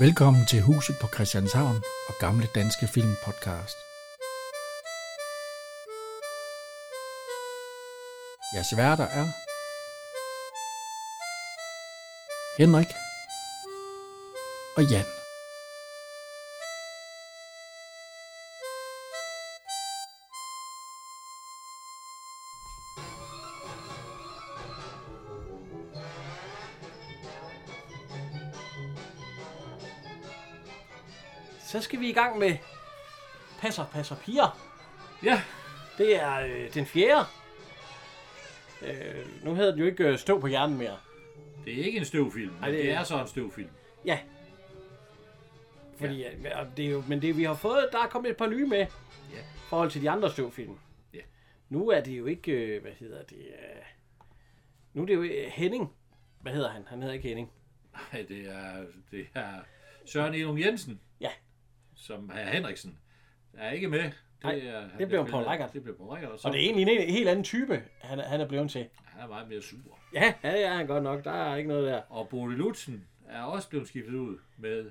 Velkommen til Huset på Christianshavn og Gamle Danske Film Podcast. Jeres værter er Henrik og Jan. Så skal vi i gang med Passer, passer piger. Ja, Det er øh, den fjerde. Øh, nu hedder den jo ikke øh, Stå på hjernen mere. det er ikke en støvfilm, men det det, er- det er så en støvfilm. Ja. Fordi, ja. Det er jo, men det vi har fået, der er kommet et par nye med. Ja. I forhold til de andre støvfilm. Ja. Nu er det jo ikke, øh, hvad hedder det, øh, nu er det jo øh, Henning. Hvad hedder han? Han hedder ikke Henning. Nej, det er, det er Søren Elung Jensen. Ja. Som er Henriksen. Er ikke med. Det, Nej, er, han det er blev spillet- Poul Reichhardt. Det blev Poul Reichhardt. Og så, Og det er egentlig en, en helt anden type, han, er- han er blevet til. Han er meget mere sur. Ja, ja, det er han godt nok. Der er ikke noget der. Og Bodil Lutzen er også blevet skiftet ud med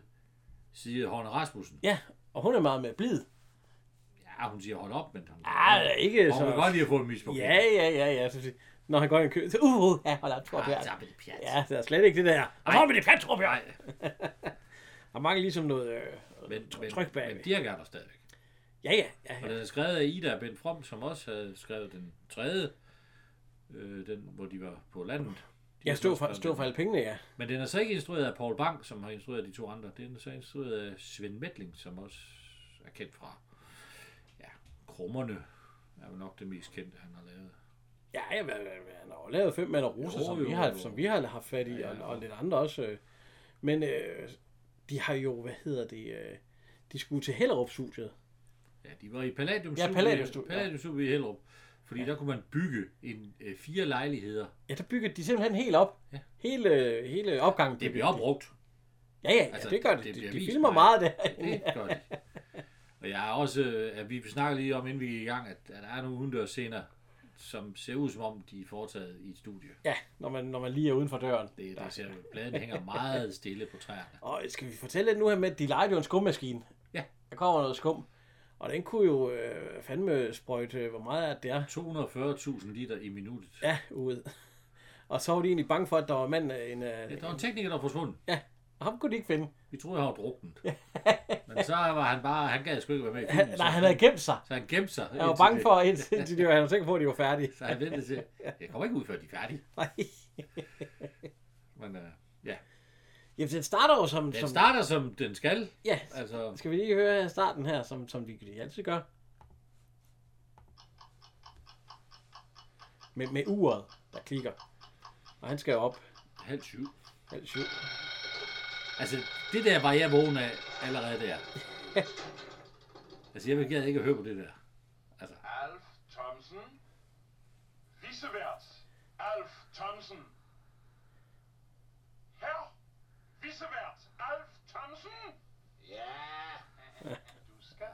Sige Horne Rasmussen. Ja, og hun er meget mere blid. Ja, hun siger hold op, men hun, Ah, ikke og hun så... kan godt lige at få en mis på Ja, ja, ja, ja. Så, sig- når han går i en kø, så uh, uh ja, hold op, tror jeg. så Ah, er det pjat. Ja, det er slet ikke det der. Og så med det plat, tror jeg. Nej, Der mangler ligesom noget øh, men, men, tryk bag. men Dirk er der stadigvæk. Ja, ja, ja, Og ja. den er skrevet af Ida og Bent From, som også havde skrevet den tredje, øh, den, hvor de var på landet. De Jeg har stod også for, skrevet stod den. for alle pengene, ja. Men den er så ikke instrueret af Paul Bang, som har instrueret de to andre. Den er så instrueret af Svend Metling, som også er kendt fra ja, Krummerne er jo nok det mest kendte, han har lavet. Ja, jeg, jeg, jeg, han har jo lavet fem mand og roser, Jo, som, jo, vi har, jo. som vi har haft fat i, Ja, og, ja. og lidt andre også. øh. Men øh, de har jo, hvad hedder det, øh, de skulle til Hellerup-studiet. Ja, de var i Palladium Ja, Palladium Studio, ja. Palladium Studio i Hellerup. Fordi ja. der kunne man bygge en, øh, fire lejligheder. Ja, der byggede de simpelthen helt op. Ja. Hele, hele opgangen. Det byggede bliver de. opbrugt. Ja, ja, ja, Altså, det gør det det. De, bliver de vist filmer meget. meget der. Det gør de. Og jeg er også, øh, at vi snakkede lige om, inden vi gik i gang, at, at der er nogle udendørs scener, som ser ud som om, de er foretaget i et studie. Ja, når man, når man lige er uden for døren. Det, der ser, bladene hænger meget stille på træerne. Og skal vi fortælle lidt nu her med, at de legede jo en skummaskine. Ja. Der kommer noget skum. Og den kunne jo øh, fandme sprøjte, øh, hvor meget er det er, 240.000 liter i minuttet. ja, ud. Og så var de egentlig bange for, at der var en mand, øh, en... Ja, Øh, der var en tekniker, der var forsvundet. ja, og ham kunne de ikke finde. Vi troede, han var druknet. Men så var han bare, han gad sgu ikke være med i Han, filmen. nej, så- han havde gemt sig. Så han gemte sig. Han var indtil bange det. for, indtil indtil de var, han var sikker på, at de var færdige. Så han ventede til, jeg kommer ikke ud, før de er færdige. Nej. Men øh, ja, Jamen, den starter jo som... den som starter, som den skal. ja, Altså, skal vi lige høre her starten her, som, som de, de altid gør. Med, med uret, der klikker. Og han skal jo op halv syv. halv syv. Altså, det der var jeg vågen af allerede der. altså, jeg gad ikke at høre på det der. Altså, Alf Thomsen. Visevært. Alf Thomsen. Herr Visevært. Alf Thomsen. Ja. Du skal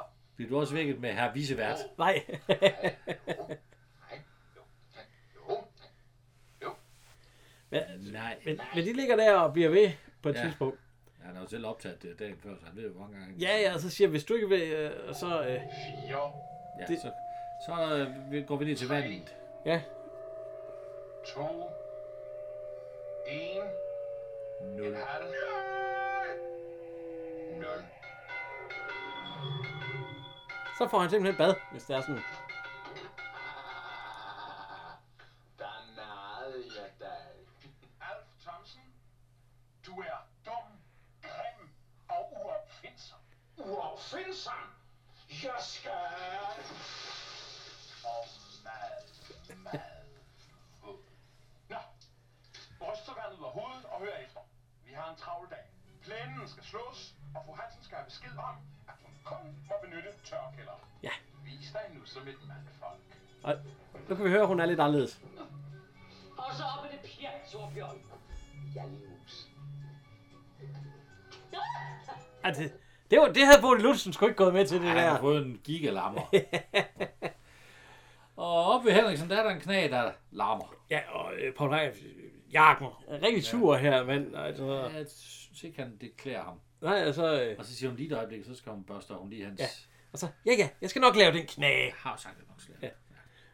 op. bliver du også vækket med herr visevært? Nej. Nej. Jo. Nej. Jo. Nej. Jo. men, Nej, men, men de ligger der og bliver ved på et ja. Ja. tidspunkt. han har jo selv optaget det dagen før, så han ved jo, hvor mange gange. Ja, ja, og så siger jeg, hvis du ikke vil, øh, og så... Øh, Fire. ja det- så, så øh, vi- går vi ned til vandet. ja, To. En. Nul. En halv. Nul. så får han simpelthen bad, hvis det er sådan. Der narrede jeg dig. Alf Thomsen, du er dum, grim og uopfindsom. Uopfindsom? Jeg skal... Og mad, mad. Nå, ryst så vandet ud af hovedet og hør efter. Vi har en travl dag. Planen skal slås, og fru Hansen skal have besked om, at hun kun må benytte tørkælder. Ja, Vis dig nu som et mandfolk. og nu kan vi høre, at hun er lidt anderledes. Og så op med det pjat, Torbjørn. Jallemus. Ej, det, det, var, det havde Bodil Lutzen sgu ikke gået med til, det Ej, han har der. fået en gigalammer. og oppe ved Henriksen, der er der en knæ, der larmer. Ja, og øh, Paul Reiff, øh, jakken. Jeg er rigtig sur her, mand. Altså, Jeg synes ikke, han det klæder ham. nej, altså... øh, Og så siger hun lige et øjeblik, så skal hun børste, og hun lige hans... Ja. Ja. Altså, ja, ja, jeg skal nok lave den knæ. Jeg har jo sagt det nok slet. Ja.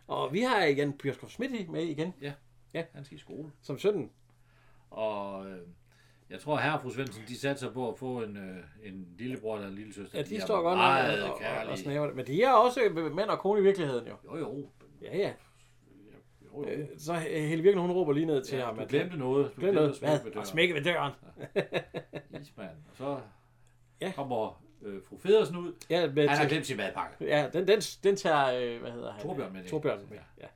Og vi har igen Bjørskov Smidt med igen, Han skal i skole. som 17. Og øh, jeg tror, herre og fru Svendsen, de satte sig på at få en, øh, en lillebror eller en lillesøster. Ja, de er står godt nok meget og, og, og kærlige. snaver det. Men de er også øh, mand og kone i virkeligheden jo. Jo, jo. Ja, ja. jo, jo. Øh, Så øh, Helle Virkelig, hun råber lige ned til ham. Ja, du at- glemte noget. Du Glem glemte at noget. smække ved Hvad? Og døren. smække ved døren. Ismand. Og så Ja. ja. kommer øh, fru Federsen ud. Ja, med, Han har til, glemt sin madpakke. ja den, den, den tager, øh, hvad hedder han? Torbjørn med, ikke? Torbjørn med, Ja. ja.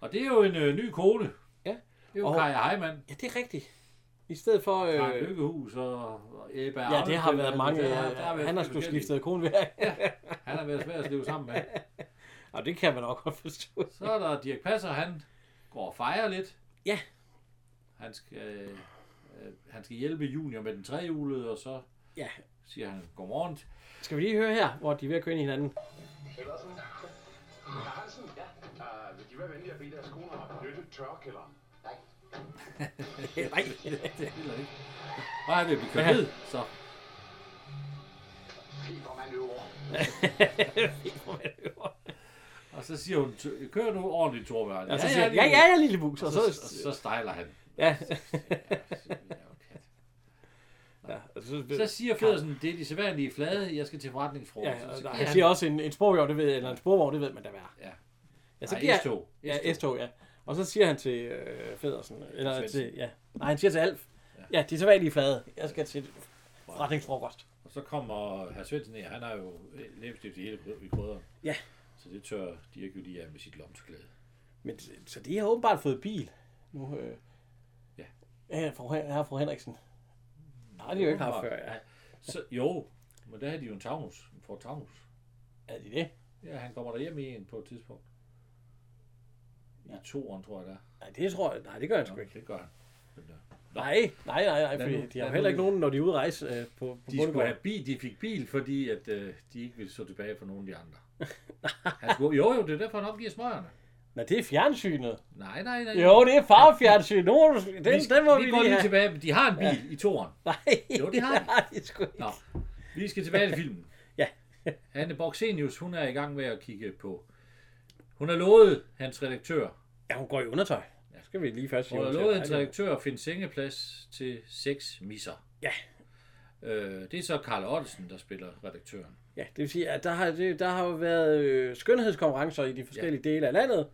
Og det er jo en øh, ny kone. Ja. Det er jo Og- og... Kaja Heimann. Ja, det er rigtigt. I stedet for... Frank Øh, Lykkehus og, og Ebbe ja, det har Arnfeldt, været altså, mange... der har- der har øh, været Han har sgu forskellige. skiftet kone ved. Han har været svær at leve sammen med. Og det kan man nok godt forstå. Så er der Dirk Passer, han går og fejrer lidt. Ja. Han skal, øh, han skal hjælpe junior med den trehjulede, og så Ja. siger han godmorgen. Skal vi lige høre her, hvor de er ved at køre ind i hinanden? Pedersen. Hansen. Ja. Uh, Ah. vil de være venlige at bede deres koner om at benytte tørkælderen? Nej. Nej. Det er ikke. Og han vil blive kørt ned, så Fibermanøvre. Og så siger hun, "Tø- kør nu ordentligt, Torbjørn. Og så siger han, ja, ja, ja, lille bus. Og Og så, så, og så stejler han. ja. ja, og Så siger Federsen, det er de sædvanlige flade, jeg skal til forretning fra. Ja, så, og så der, giver han siger også, en, en sporvogn, det ved, eller en sporvogn, det ved man da være. Ja. ja så Nej, giver, han- S-tog. Ja, S-tog, ja. Og så siger han til øh, Federsen, eller Svendsen. til, ja. Nej, han siger til Alf. Ja, de er så vanlige flade. Jeg skal til forretningsfrokost. Og så kommer herr Svendsen ned, han har jo læbestift i hele kryd- i krydderen. Ja. Så det tør Dirk jo lige af med sit lomtørklæde. Men, så de har åbenbart fået bil. Nu, øh, Ja. Ja, fru, Hen- her er fru Henriksen. Nej, det er jo ikke haft før, ja. Så, jo, men der har de jo en Taunus, en Ford Taunus. Er de det? Ja, han kommer der hjem i en på et tidspunkt. I toeren, tror jeg, der. Nej, det tror jeg. Nej, det gør han sgu Nå, ikke. det gør han. Men, øh, Nej, nej, nej, nej, Lad fordi nu- de har jo lad heller nu- ikke nogen, når de er ude at rejse øh, på, på De, skulle have bil, de fik bil, fordi at, øh, de ikke ville stå tilbage for nogen af de andre. Han skulle, jo, jo, det er derfor, han opgiver smøgerne. Nej, det er fjernsynet. Nej, nej, nej. Jo, det er farfjernsyn. Nu må du, den, den må vi, går lige lige have. tilbage. men De har en bil ja. i toren. Nej, Jo, det har de. de sgu ikke. Nå, vi skal tilbage til filmen. Ja. Anne Borgsenius, hun er i gang med at kigge på... Hun har lovet hans redaktør, Ja, hun går i undertøj. Ja. Skal vi lige først sige. hun har hun lovet ser- hans redaktør at finde sengeplads til seks misser. Ja. Øh, det er så Karl Ottesen, der spiller redaktøren. Ja, det vil sige, at der har, det, der har jo været øh, skønhedskonkurrencer i de forskellige ja. dele af landet.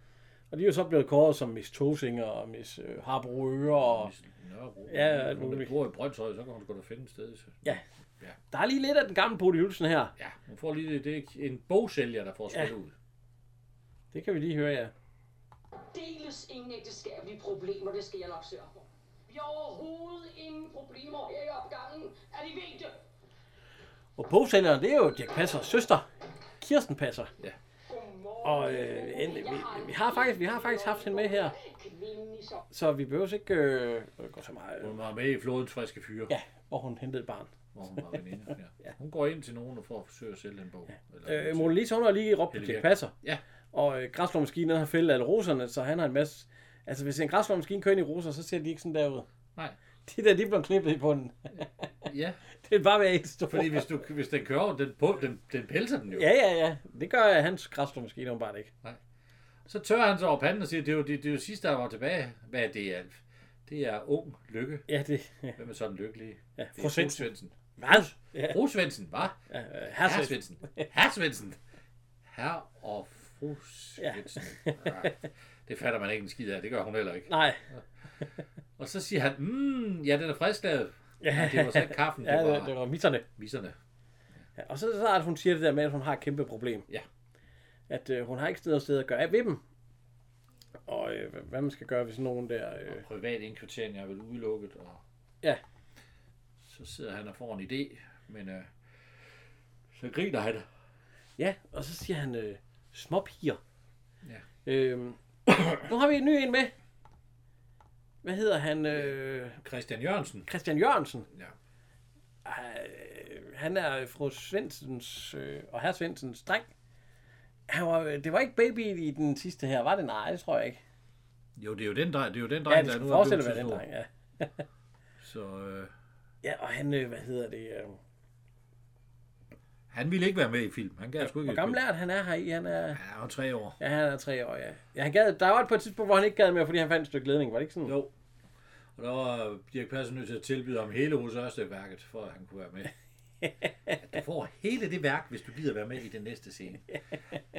Og de er jo så blevet kåret som Miss Tosinger og Miss øh, Harbro Øre. Og... Nørrebro. Ja, ja, Hun muligt. bor i Brøndshøj, så kan hun sgu da finde et sted. Så. Der er lige lidt af den gamle Bodil Jølsen her. Ja, hun får lige det. Det er en bogsælger, der får spillet Ja. ja. ud. Det kan vi lige høre, ja. Deles ingen ægteskabelige problemer, det skal jeg nok sørge for. Vi har overhovedet ingen problemer her i opgangen. Er de ved det? Og bogsælgeren, det er jo Dirk Passers søster. Kirsten Passer. Godmorgen. Og øh, endelig, vi, vi, har faktisk, vi har faktisk haft hende med her, Kvinden i så. så vi behøver ikke øh, gå så meget. Øh, Hun var med i flodens friske fyre, ja. ja, hvor hun hentede et barn. hvor hun var veninde. Ja. Hun går ind til nogen og får at forsøge at sælge en bog. Eller, Øh, Mona Lisa, hun har lige råbt på Helle Dirk Birk. Passer. Ja, Og øh, græslåmaskinen har fældet alle roserne, så han har en masse... Altså, hvis en græslåmaskine kører ind i roser, så ser de ikke sådan der ud. nej. De der, de bliver klippet i bunden. Ja, Det er bare være et stort. fordi hvis, du, hvis den kører over, den, på, den, den pelser den jo. Ja, ja, ja. Det gør hans græslåmaskine åbenbart ikke. Så tør han så over panden og siger, det er jo det, det, er jo sidste, der var tilbage. Hvad er det, Alf? Det er ung lykke. Ja, det... Ja. Hvem er sådan lykkelig? Ja, Det fru er fru Svendsen. Svendsen. Hvad? Ja, Fru Svendsen, hva'? ja, øh, Herr herre Svendsen. Herr Svendsen. Herr og fru Ja. Svendsen. Ja. Det fatter man ikke en skid af. Det gør hun heller ikke. Nej. Og så siger han, mm, ja, den er frisklavet. Ja, Ja, det var så ikke kaffen, det Ja, var det, det var misserne. misserne. Ja, og så er det så, at hun siger det der med, at hun har et kæmpe problem. Ja. At øh, hun har ikke sted og sted at gøre af ved dem. Og øh, hvad- hvad man skal gøre ved sådan nogen der... Øh, Og privat indkvartering er vel udelukket, og Ja. så sidder han og får en idé, men øh, så griner han. ja, og så siger han øh, småpiger. Ja. Øhm, nu har vi en ny en med. Hvad hedder han? Øh, Christian Jørgensen. Christian Jørgensen. Ja. Øh, han er fru Svendsens øh, og herr øh, Svendsens dreng. Han var, det var ikke baby i den sidste her, var det? Nej, det tror jeg ikke. Jo, det er jo den dreng, det er jo den dreng, Ja, det skal er blevet forestille så at være den stor. dreng, ja. Så øh, Ja, og han, øh, hvad hedder det, øh, han ville ikke være med i film. Han gad sgu ikke. hvor i gammel film. er han? han er her i? Han er, Han er jo tre år. ja, han er tre år, ja. ja han gad, der var et på et tidspunkt, hvor han ikke gad mere, fordi han fandt et stykke ledning, var det ikke sådan? Jo. Og der var Dirk Passer nødt til at tilbyde ham hele hos Ørstedværket, for at han kunne være med. Du får hele det værk, hvis du gider være med i den næste scene.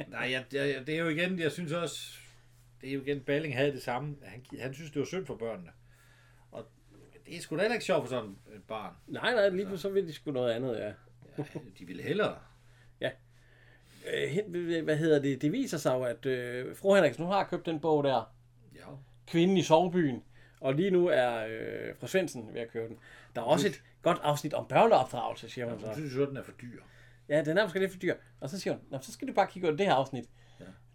Nej, jeg, jeg, det er jo igen, jeg synes også, det er jo igen, Balling havde det samme. Han, han synes, det var synd for børnene. Og det er sgu da heller ikke sjovt for sådan et barn. Nej, nej, lige pludselig så vil de sgu noget andet, ja. Ja, de ville hellere. Øh, hen- hvad hedder det, det viser sig jo, at øh, fru Henriksen, hun har købt den bog der, Ja. Kvinden i sovebyen. Og lige nu er øh, fru Svendsen ved at købe den. Der er også et godt afsnit om børneopdragelse, siger hun så. Jeg synes jo, den er for dyr. Ja, den er måske lidt for dyr. Og så siger hun, "Nå, så skal du bare kigge på det her afsnit.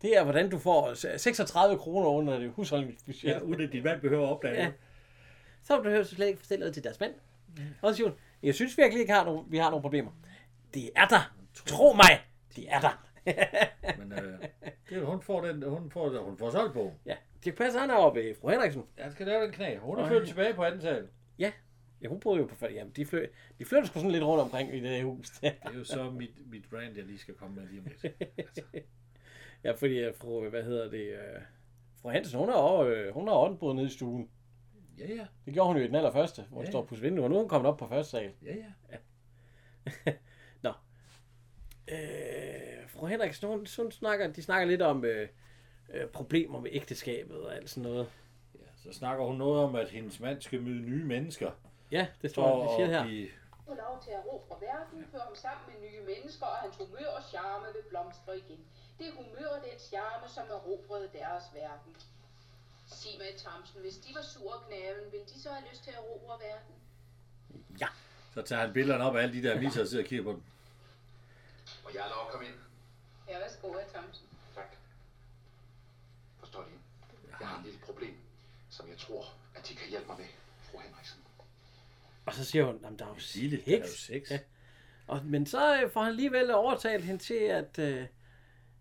Det er, hvordan du får s- 36 kroner under det husholdningsbudget. Ja, uden at din mand behøver at opdage Ja. det. Så behøver du slet ikke fortælle det til deres mand. Og så siger hun, jeg synes virkelig ikke, har nogen, vi har nogle problemer. Det er der. Tro mig, det er der. Men øh, det, hun får den, hun får, hun får solgt bogen. ja, det passer han er oppe ved fru Henriksen. Jeg skal lave den knæ. Hun er Ej. flyttet tilbage på anden sal. Ja, ja hun boede jo på fald. Jamen, de, flø, de flytter sgu sådan lidt rundt omkring i det her hus. der. Det er jo så mit, mit brand, jeg lige skal komme med lige om lidt. Altså, ja, fordi øh, fru, hvad hedder det, øh, fru Hansen, hun har, over, øh, hun har åndbåd nede i stuen. ja, ja, Det gjorde hun jo i den allerførste, hvor hun Ja. står på vinduet, og nu er hun kommet op på første sal. ja, ja. Øh, fru Henriksen, hun, hun snakker, de snakker lidt om øh, øh, problemer med ægteskabet og alt sådan noget. ja så snakker hun noget om, at hendes mand skal møde nye mennesker. Ja, det For står det siger at her. blive... få lov til at ro fra verden, før ham sammen med nye mennesker, og hans humør og charme vil blomstre igen. Det humør og den charme, som erobrede deres verden. Sig mig, Thomsen, hvis de var sure og knaven, ville de så have lyst til at erobre verden? Så tager han billederne op af alle de der misser og sidder og kigger på dem. Og jeg er lov at komme ind. Ja, værsgo, herr Thomsen. Tak. Forstår de? Jeg har et lille problem, som jeg tror, at de kan hjælpe mig med, fru Henriksen. Og så siger hun, jamen der er jo Lille, sex. der er jo sex. Ja. Og, men så øh, får han alligevel overtalt hende til, at, øh,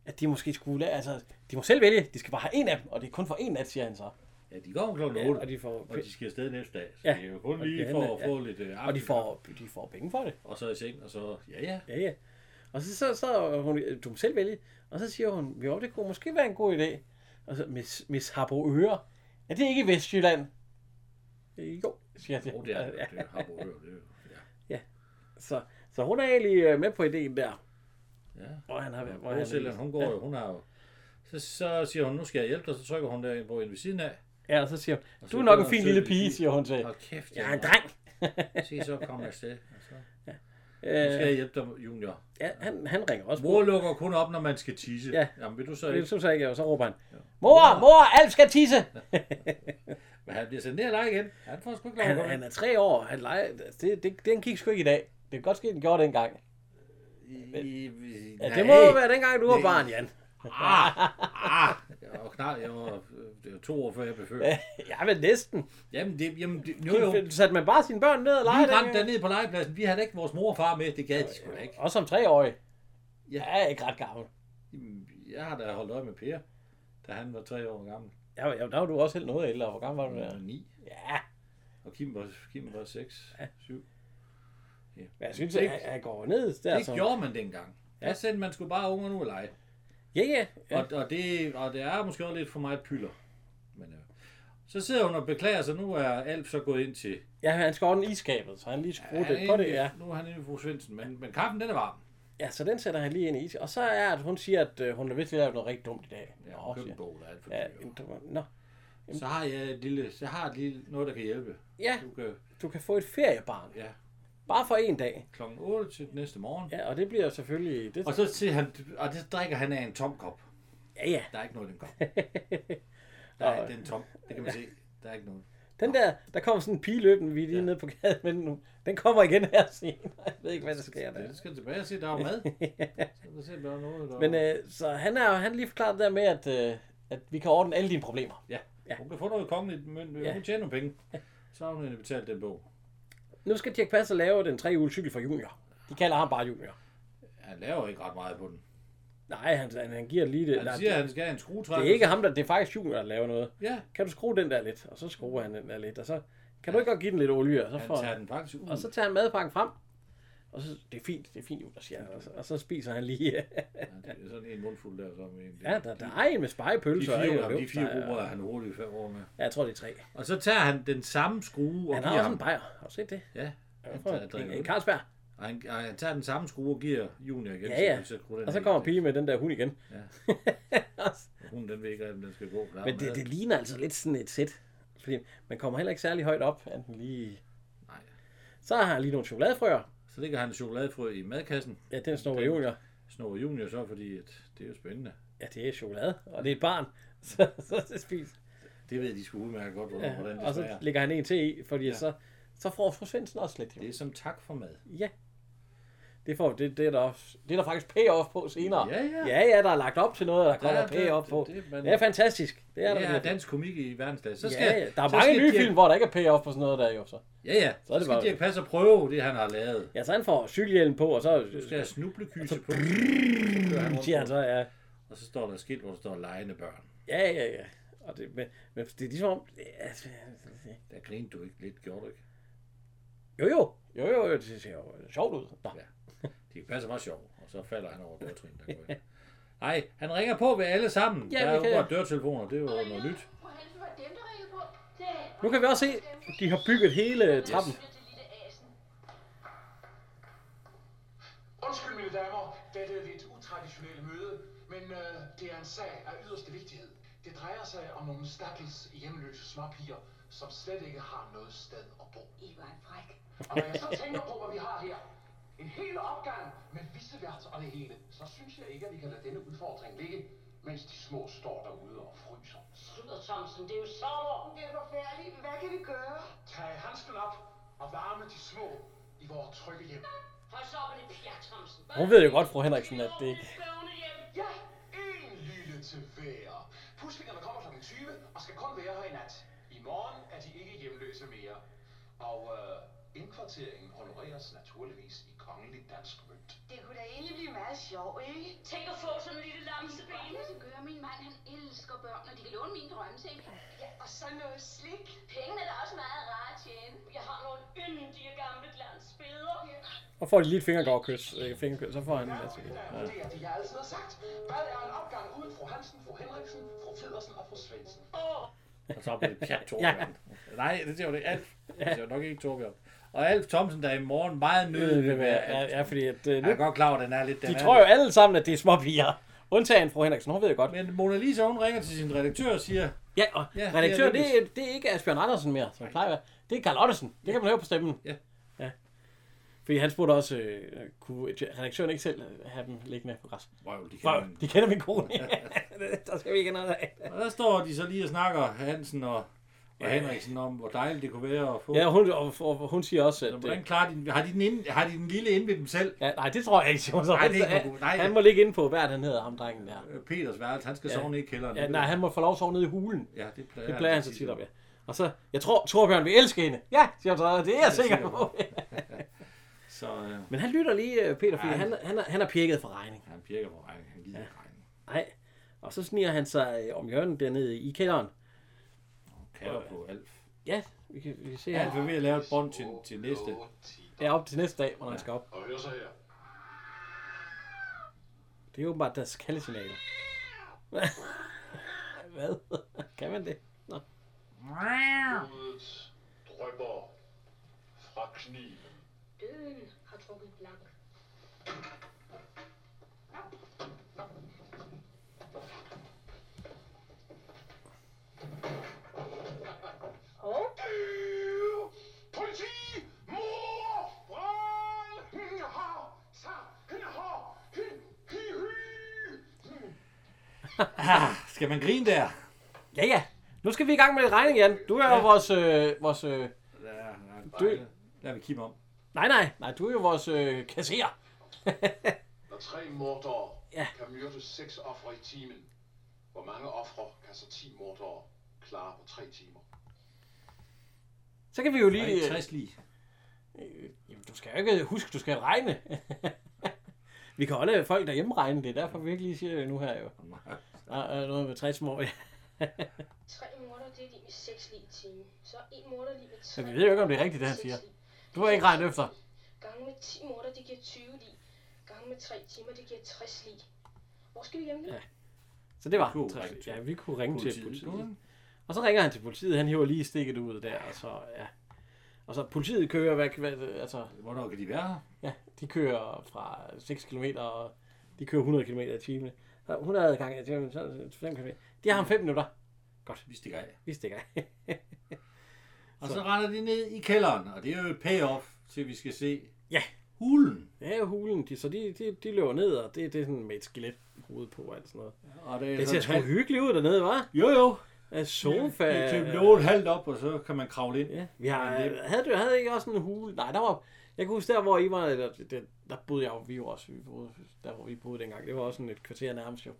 at de måske skulle... la- Altså, de må selv vælge. De skal bare have en af dem, og det er kun for en nat, siger han så. Ja, de går kl. 8, Ja, og de får- og de skal afsted næste dag. Så Ja. ja. det er jo kun Og lige det for handler- at få lidt øh, Og de aften. får, de får penge for det. Og så i seng, og så... Ja, ja. Ja, ja. Og så, så, så er hun, øh, du må selv vælge. Og så siger hun, jo, det kunne måske være en god idé. Og så, Miss, Miss Harbo Øre, er det ikke i Vestjylland? Øh, Jo, siger det. Oh, det er det. Ja, Det er Harbo Hører, det er jo. Ja. så, så hun er egentlig øh, med på ideen der. ja. Hvor han har været. Hvor han, Nordsjælland, hun går jo, hun har jo... Så, så siger hun, nu skal jeg hjælpe dig, så trykker hun der på en ved siden af. Ja, og så siger hun, Og så du er nok bliver en fin hun lille sød pige, pige. siger hun til. Hold kæft, Jeg er var- en dreng. Se, så kommer jeg afsted. Og så, nu skal Øh, jeg hjælpe dig, junior. ja, han, han ringer også. Mor lukker kun op, når man skal tisse. Ja. Jamen, vil du så Det ikke? synes jeg ikke, og så råber han, mor, mor, Alf skal tisse. Men han bliver sendt ned og lege igen. Han får sgu ikke lov Han, at gå han ind. er tre år, han leger, altså, det, det, den gik sgu ikke i dag. Det kan godt ske, den gjorde dengang. I- i- Ja, nej. det må jo være dengang, du var barn, Jan. Ah, jeg var knap, jeg var, det var to år før jeg blev født. Ja, vel næsten. Jamen, det, jamen, det, jo, jo. Jo. Satte man bare sine børn ned og Vi lege rendte dengang? dernede på legepladsen. Vi havde ikke vores mor og far med. Det gad de sgu da ikke. Også som treårig. Ja. Jeg er ikke ret gammel. Jeg har da holdt øje med Per, da han var tre år gammel. Ja, ja, der var du også helt noget ældre. Hvor gammel var du Han var der? ni. Ja, Og Kim var, Kim var 6, 7. men jeg synes, at jeg går ned der. Det som- gjorde man dengang. Der sendte man skulle bare ungerne ud og lege. Ja, ja. ja. Og, og, det, og det er måske også lidt for meget pyller. Men, øh, så sidder hun og beklager sig. Nu er Alf så gået ind til... Ja, han skal ordne iskabet, så han lige skruer Han er det på inde- det, ja. Nu er han inde i fru Svendsen, men, men kaffen den er varm. Ja, så den sætter han lige ind i is. Og så er at hun siger, at øh, hun er vist lavet noget rigtig dumt i dag. Ja, Nå, køb en siger- bog eller alt for ja, dyrt. jamen, du- nå. Så har jeg et lille, så har jeg et lille noget, der kan hjælpe. ja, Du kan, du kan få et feriebarn. ja, Bare for en dag. klokken 8 til næste morgen. Ja, og det bliver selvfølgelig... Det, Og så siger han, og det drikker han af en tom kop. ja, ja. Der er ikke noget i den kop. Der er, den er tom. Det kan man se. Der er ikke noget. Den der, der kommer sådan en pige løbende, vi er lige ja. nede på gaden med den nu. Den kommer igen her senere. Jeg ved ikke, hvad der sker der. Det skal tilbage og se, der er jo mad. Så kan se, der er noget. Der Men øh, så han er han har lige forklaret det der med, at, øh, at vi kan ordne alle dine problemer. ja. Hun kan få noget kongeligt, men ja. hun tjener nogle penge. Så har hun egentlig betalt den bog. Nu skal Dirk Passer lave den tre uge cykel for junior. De kalder ham bare junior. Han laver ikke ret meget på den. Nej, han, han, han giver lige det. Han Nej, siger, at det, han skal have en skruetrækker. det er ikke ham, der, det er faktisk Jul, der laver noget. Ja, Kan du skrue den der lidt? Og så skruer han den der lidt. Og så kan du ikke godt give den lidt olie? Og så, han får, tager den faktisk ud. og så tager han madpakken frem. Og så, det er fint, det er fint, Jonas, siger han. Og så, og så spiser han lige. Ja, det er sådan en mundfuld der. Som en, ja, der, der er en med de spejepølser. fire, ikke? ja, Og de fire løbsteg, grupper og- er han hurtigt fem år med. Ja, jeg tror, det er tre. Og så tager han den samme skrue og Han giver har også ham. en bajer. Har du set det? Ja, Han han får tager, en, en, en drikker øl. Carlsberg. og han, og han tager den samme skrue og giver Junior igen. Ja, ja. Så, så skruer den Og så af. kommer pige med den der hund igen. Ja. Også. Hun, den ved ikke, om den skal gå. Der er Men mad. det, det ligner altså lidt sådan et sæt. Fordi man kommer heller ikke særlig højt op, enten lige... Nej. Så har han lige nogle chokoladefrøer. Så ligger han en chokoladefrø i madkassen. Ja, den snor junior. Snor Junior så, fordi at det er jo spændende. Ja, det er chokolade, og det er et barn. Så, så det spiser. Det ved de sgu udmærket godt, hvordan, hvordan Ja, det og smager. så lægger han en til i, fordi ja. så, så får fru Svendsen også lidt. Jo. Det er som tak for mad. Ja. Det, får, det, det, er der, også- det er der faktisk payoff på senere. Ja, ja. ja, ja der er lagt op til noget, og der kommer Ja, det- payoff på. det- Det, det- det, man- det, er fantastisk. Det er der Det er virkelig. dansk komik i verdensklasse. Så skal, Ja, ja, der er så mange skal nye Dirch- film, hvor der ikke er payoff på sådan noget der, jo så. Ja, ja. Så, er det bare... skal Dirk Passer prøve det, han har lavet. Ja, så han får cykelhjelm på, og så Du skal have snublekyse på. siger han så, ja, Og så står der et skilt, hvor der står lejende børn. ja, ja, ja. Og det, men, men det er ligesom om... Ja, Der grinte du ikke lidt, gjorde du ikke? jo, jo, jo, jo, det ser jo sjovt ud. Nå. Ja. Dirk Passer var sjov. Og så falder han over dørtrin, der går ind. Nej, han ringer på ved alle sammen. Ja, Ja, der er vi jo kan- bare dørtelefoner, det er jo noget nyt. Må han for dem, der ringer på? Det er Nu kan vi også se, de har bygget hele trappen. det lille asen. Undskyld, mine damer. Dette er et utraditionelt møde, men øh, det er en sag af yderste vigtighed. Det drejer sig om nogle stakkels hjemløse småpiger, som slet ikke har noget sted at bo. I var en fræk. Og når jeg så tænker på, hvad vi har her, en hel opgang med vissevært og det hele, så synes jeg ikke, at vi kan lade denne udfordring ligge, mens de små står derude og fryser. Slutter Thomsen, det er jo sommer. Det er forfærdeligt. Hvad kan vi gøre? Tag handsken op og varme de små i vores trygge hjem. Hold så op med det pjat, Thomsen. Hun ved jo godt, fru Henriksen, at det ikke... Ja, en lille til hver. Puslingerne kommer kl. 20 og skal kun være her i nat. I morgen er de ikke hjemløse mere. Og øh, indkvarteringen honoreres naturligvis i kongelig dansk mønt. Det kunne da egentlig blive meget sjovt, ikke? Tænk at få sådan en lille lamseben. Jeg skal gøre min mand, han elsker børn, og de kan låne min drømmeseng. Ja, og så noget slik. Pengene er da også meget rare at tjene. Jeg har nogle yndige gamle glansbilleder. Og får de lige et fingergårdkys, øh, fingerkys, så får han en masse. Ja. Det er det, jeg altid har sagt. Hvad er en opgang uden fru Hansen, fru Henriksen, fru Federsen og fru Svendsen? Åh, Og så blev det pjat Torbjørn. ja. Nej, det siger jo det. Alf. Det siger jo nok ikke Torbjørn. Og Alf Thomsen, der er i morgen meget nødig ved at være Ja, Alf. ja, fordi at, øh, nu, Jeg er godt klar over, at den er lidt... Den de er tror jo alle sammen, at det er småpiger. Undtagen fru Henriksen, hun ved jo godt. lidt. Men Mona Lisa, hun ringer til sin redaktør og siger, Ja, og Ja, det ja, er redaktør, det er, lykkedes. det er ikke Asbjørn Andersen mere, som plejer at være. Det er Karl Ottesen. Det kan man høre på stemmen. Ja. ja. Fordi han spurgte også, øh, kunne redaktøren ikke selv øh, have dem liggende på græs? Røv, de kan For, man. de kender min kone. der skal vi ikke have noget af. Og der står de så lige og snakker, Hansen og, og Henriksen, om hvor dejligt det kunne være at få. Ja, hun, og, og, og hun siger også, Så at... hvordan Øh, klarer de den? Har de den, inde, har de den lille inde ved dem selv? ja, nej, det tror jeg ikke, siger hun så. Nej, det er ikke Han- nogen god- nej. Han må ligge inde på, hvad han hedder, ham drengen der. Øh, Peters værelse, han skal sove ned i kælderen. Ja, nej, han må få lov at sove nede i hulen. ja, det plejer, Det plejer han så tit op, ja. Og så, jeg tror, Torbjørn vil elske hende. Ja, siger hun så, det er jeg sikker på. Så øh, Men han lytter lige, øh, Peter, fordi Ej. han, han, er- han er pirket for regning. han pirker på regningen. Han gider ikke regningen. Nej. Og så sniger han sig øh, om hjørnet dernede i kælderen. Kalder på Alf. Ja, vi kan, vi kan se Alf her. er ved at lave et bånd til, til næste. Ja, op til næste dag, hvor han skal op. Og hør så her. Det er åbenbart deres kaldesignaler. Hvad? Kan man det? Nå. Blodet drøber fra kniven. Døden har trukket blank. Politi! Mor! Brøl! Hende har! Sa! Hende har! Hende! Hi! Hi! Ah, skal man grine der? Ja, ja. Nu skal vi i gang med regning, Jan. Du er jo vores... Øh, vores øh, Ja, nej, Dø. nej, Lad vi kigge om. nej, nej. Nej, du er jo vores øh, kasserer. Når tre mordere Ja. kan myrde seks ofre i timen, hvor mange ofre kan så ti mordere klare på tre timer? Så kan vi jo Der er lige... ikke Øh, 60 lige. jamen, du skal jo ikke huske, du skal regne. Vi kan holde folk derhjemme regne, det er derfor vi ikke lige siger det nu her jo. Der er noget med 60 mål. Tre måneder, det er lige med seks lige i time. Så en måneder lige med tre. vi ved jo ikke, om det er rigtigt, det han Seks siger. lig. Du har ikke regnet efter. Gange med 10 måneder, det giver 20 lige. Gange med 3 timer, det giver 60 lige. Hvor skal vi hjem nu? Ja. Så det var kunne 60. ringe til- Ja, vi kunne ringe til politiet. politiet. Og så ringer han til politiet, han hiver lige stikket ud der, og så, ja. Og så politiet kører, hvad, hvad, altså, Hvornår kan de være her? Ja, de kører fra 6 km, og de kører 100 km i timen. Så 100 gange i timen, så 5 km. De har ham 5 minutter. Vi stikker af. Vi stikker. Og Så- så, render de ned i kælderen, og det er jo et payoff til, vi skal se Ja. hulen. ja, jo, hulen. De, så de, de, de løber ned, og det, det er sådan med et skelet hoved på og alt sådan noget. Og det, er Det sådan ser sgu hyggeligt ud dernede, hva'? Jo, jo. Af sofa. Det er typ nogen halvt op, og så kan man kravle ind. Ja, vi har, havde, du, havde I ikke også en hule? Nej, der var, jeg kan huske der, hvor I var, der, der, der boede jeg jo, vi var også, vi boede, der hvor vi boede dengang, det var også sådan et kvarter nærmest jo.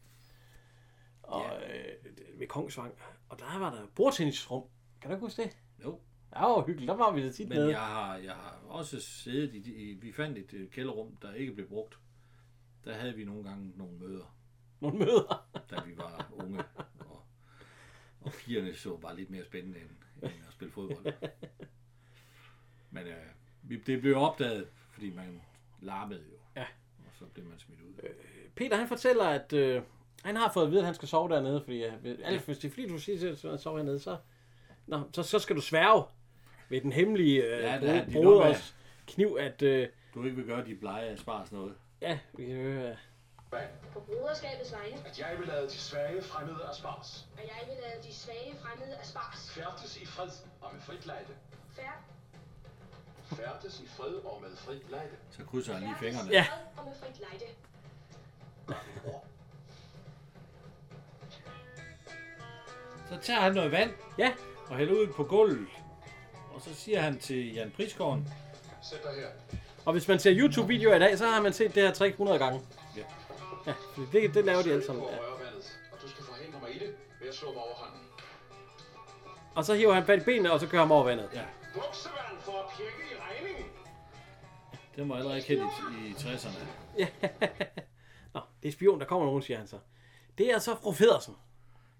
Og ja. øh, ved Kongsvang, og der var der bordtennisrum. Kan du ikke huske det? Jo. Ja, det var hyggeligt, der var vi da tit Men nede. jeg har, jeg har også siddet i, i... Vi fandt et øh, kælderrum, der ikke blev brugt. Der havde vi nogle gange nogle møder, Nogle møder. da vi var unge. Og, og pigerne så bare lidt mere spændende end, end at spille fodbold. Men øh, vi- det blev opdaget, fordi man larmede jo. Ja. Og så blev man smidt ud. Peter han fortæller, at øh, han har fået at vide, at han skal sove dernede, fordi øh, ved- Alf, hvis det er fordi, du siger til, at han sover hernede, så, nå, så, så skal du sværge ved den hemmelige øh, Ja, ja, det er de broders kniv, at øh, Du ikke vil gøre de blege at spare sådan noget. ja, vi kan høre, øh, På broderskabets vegne, At jeg vil lade de svage fremmede og spars. og jeg vil lade de svage fremmede af spars. Færdes i fred og med frit lejde. Færd. Færdes i fred og med frit lejde. Så krydser han lige fingrene. Ja. Og med frit lejde. Gør mit ord. Så tager han noget vand ja, og hælder ud på gulvet. Og så siger han til Jan Priskoven, Sæt dig her. Og hvis man ser YouTube-videoer i dag, så har man set det her trick 100 gange. Ja. Ja, fordi det, det laver de alle sammen. Du Ja. skal rørvandet, og du skal forhindre mig i det, ved at slå mig over hånden. Og så hiver han fat i benene, og så kører han over vandet. ja, Buksevand for at pjekke i regningen. den var allerede kendt i, i 60'erne. Nå, det er spion, der kommer nogen, siger han så. Det er så fru Federsen.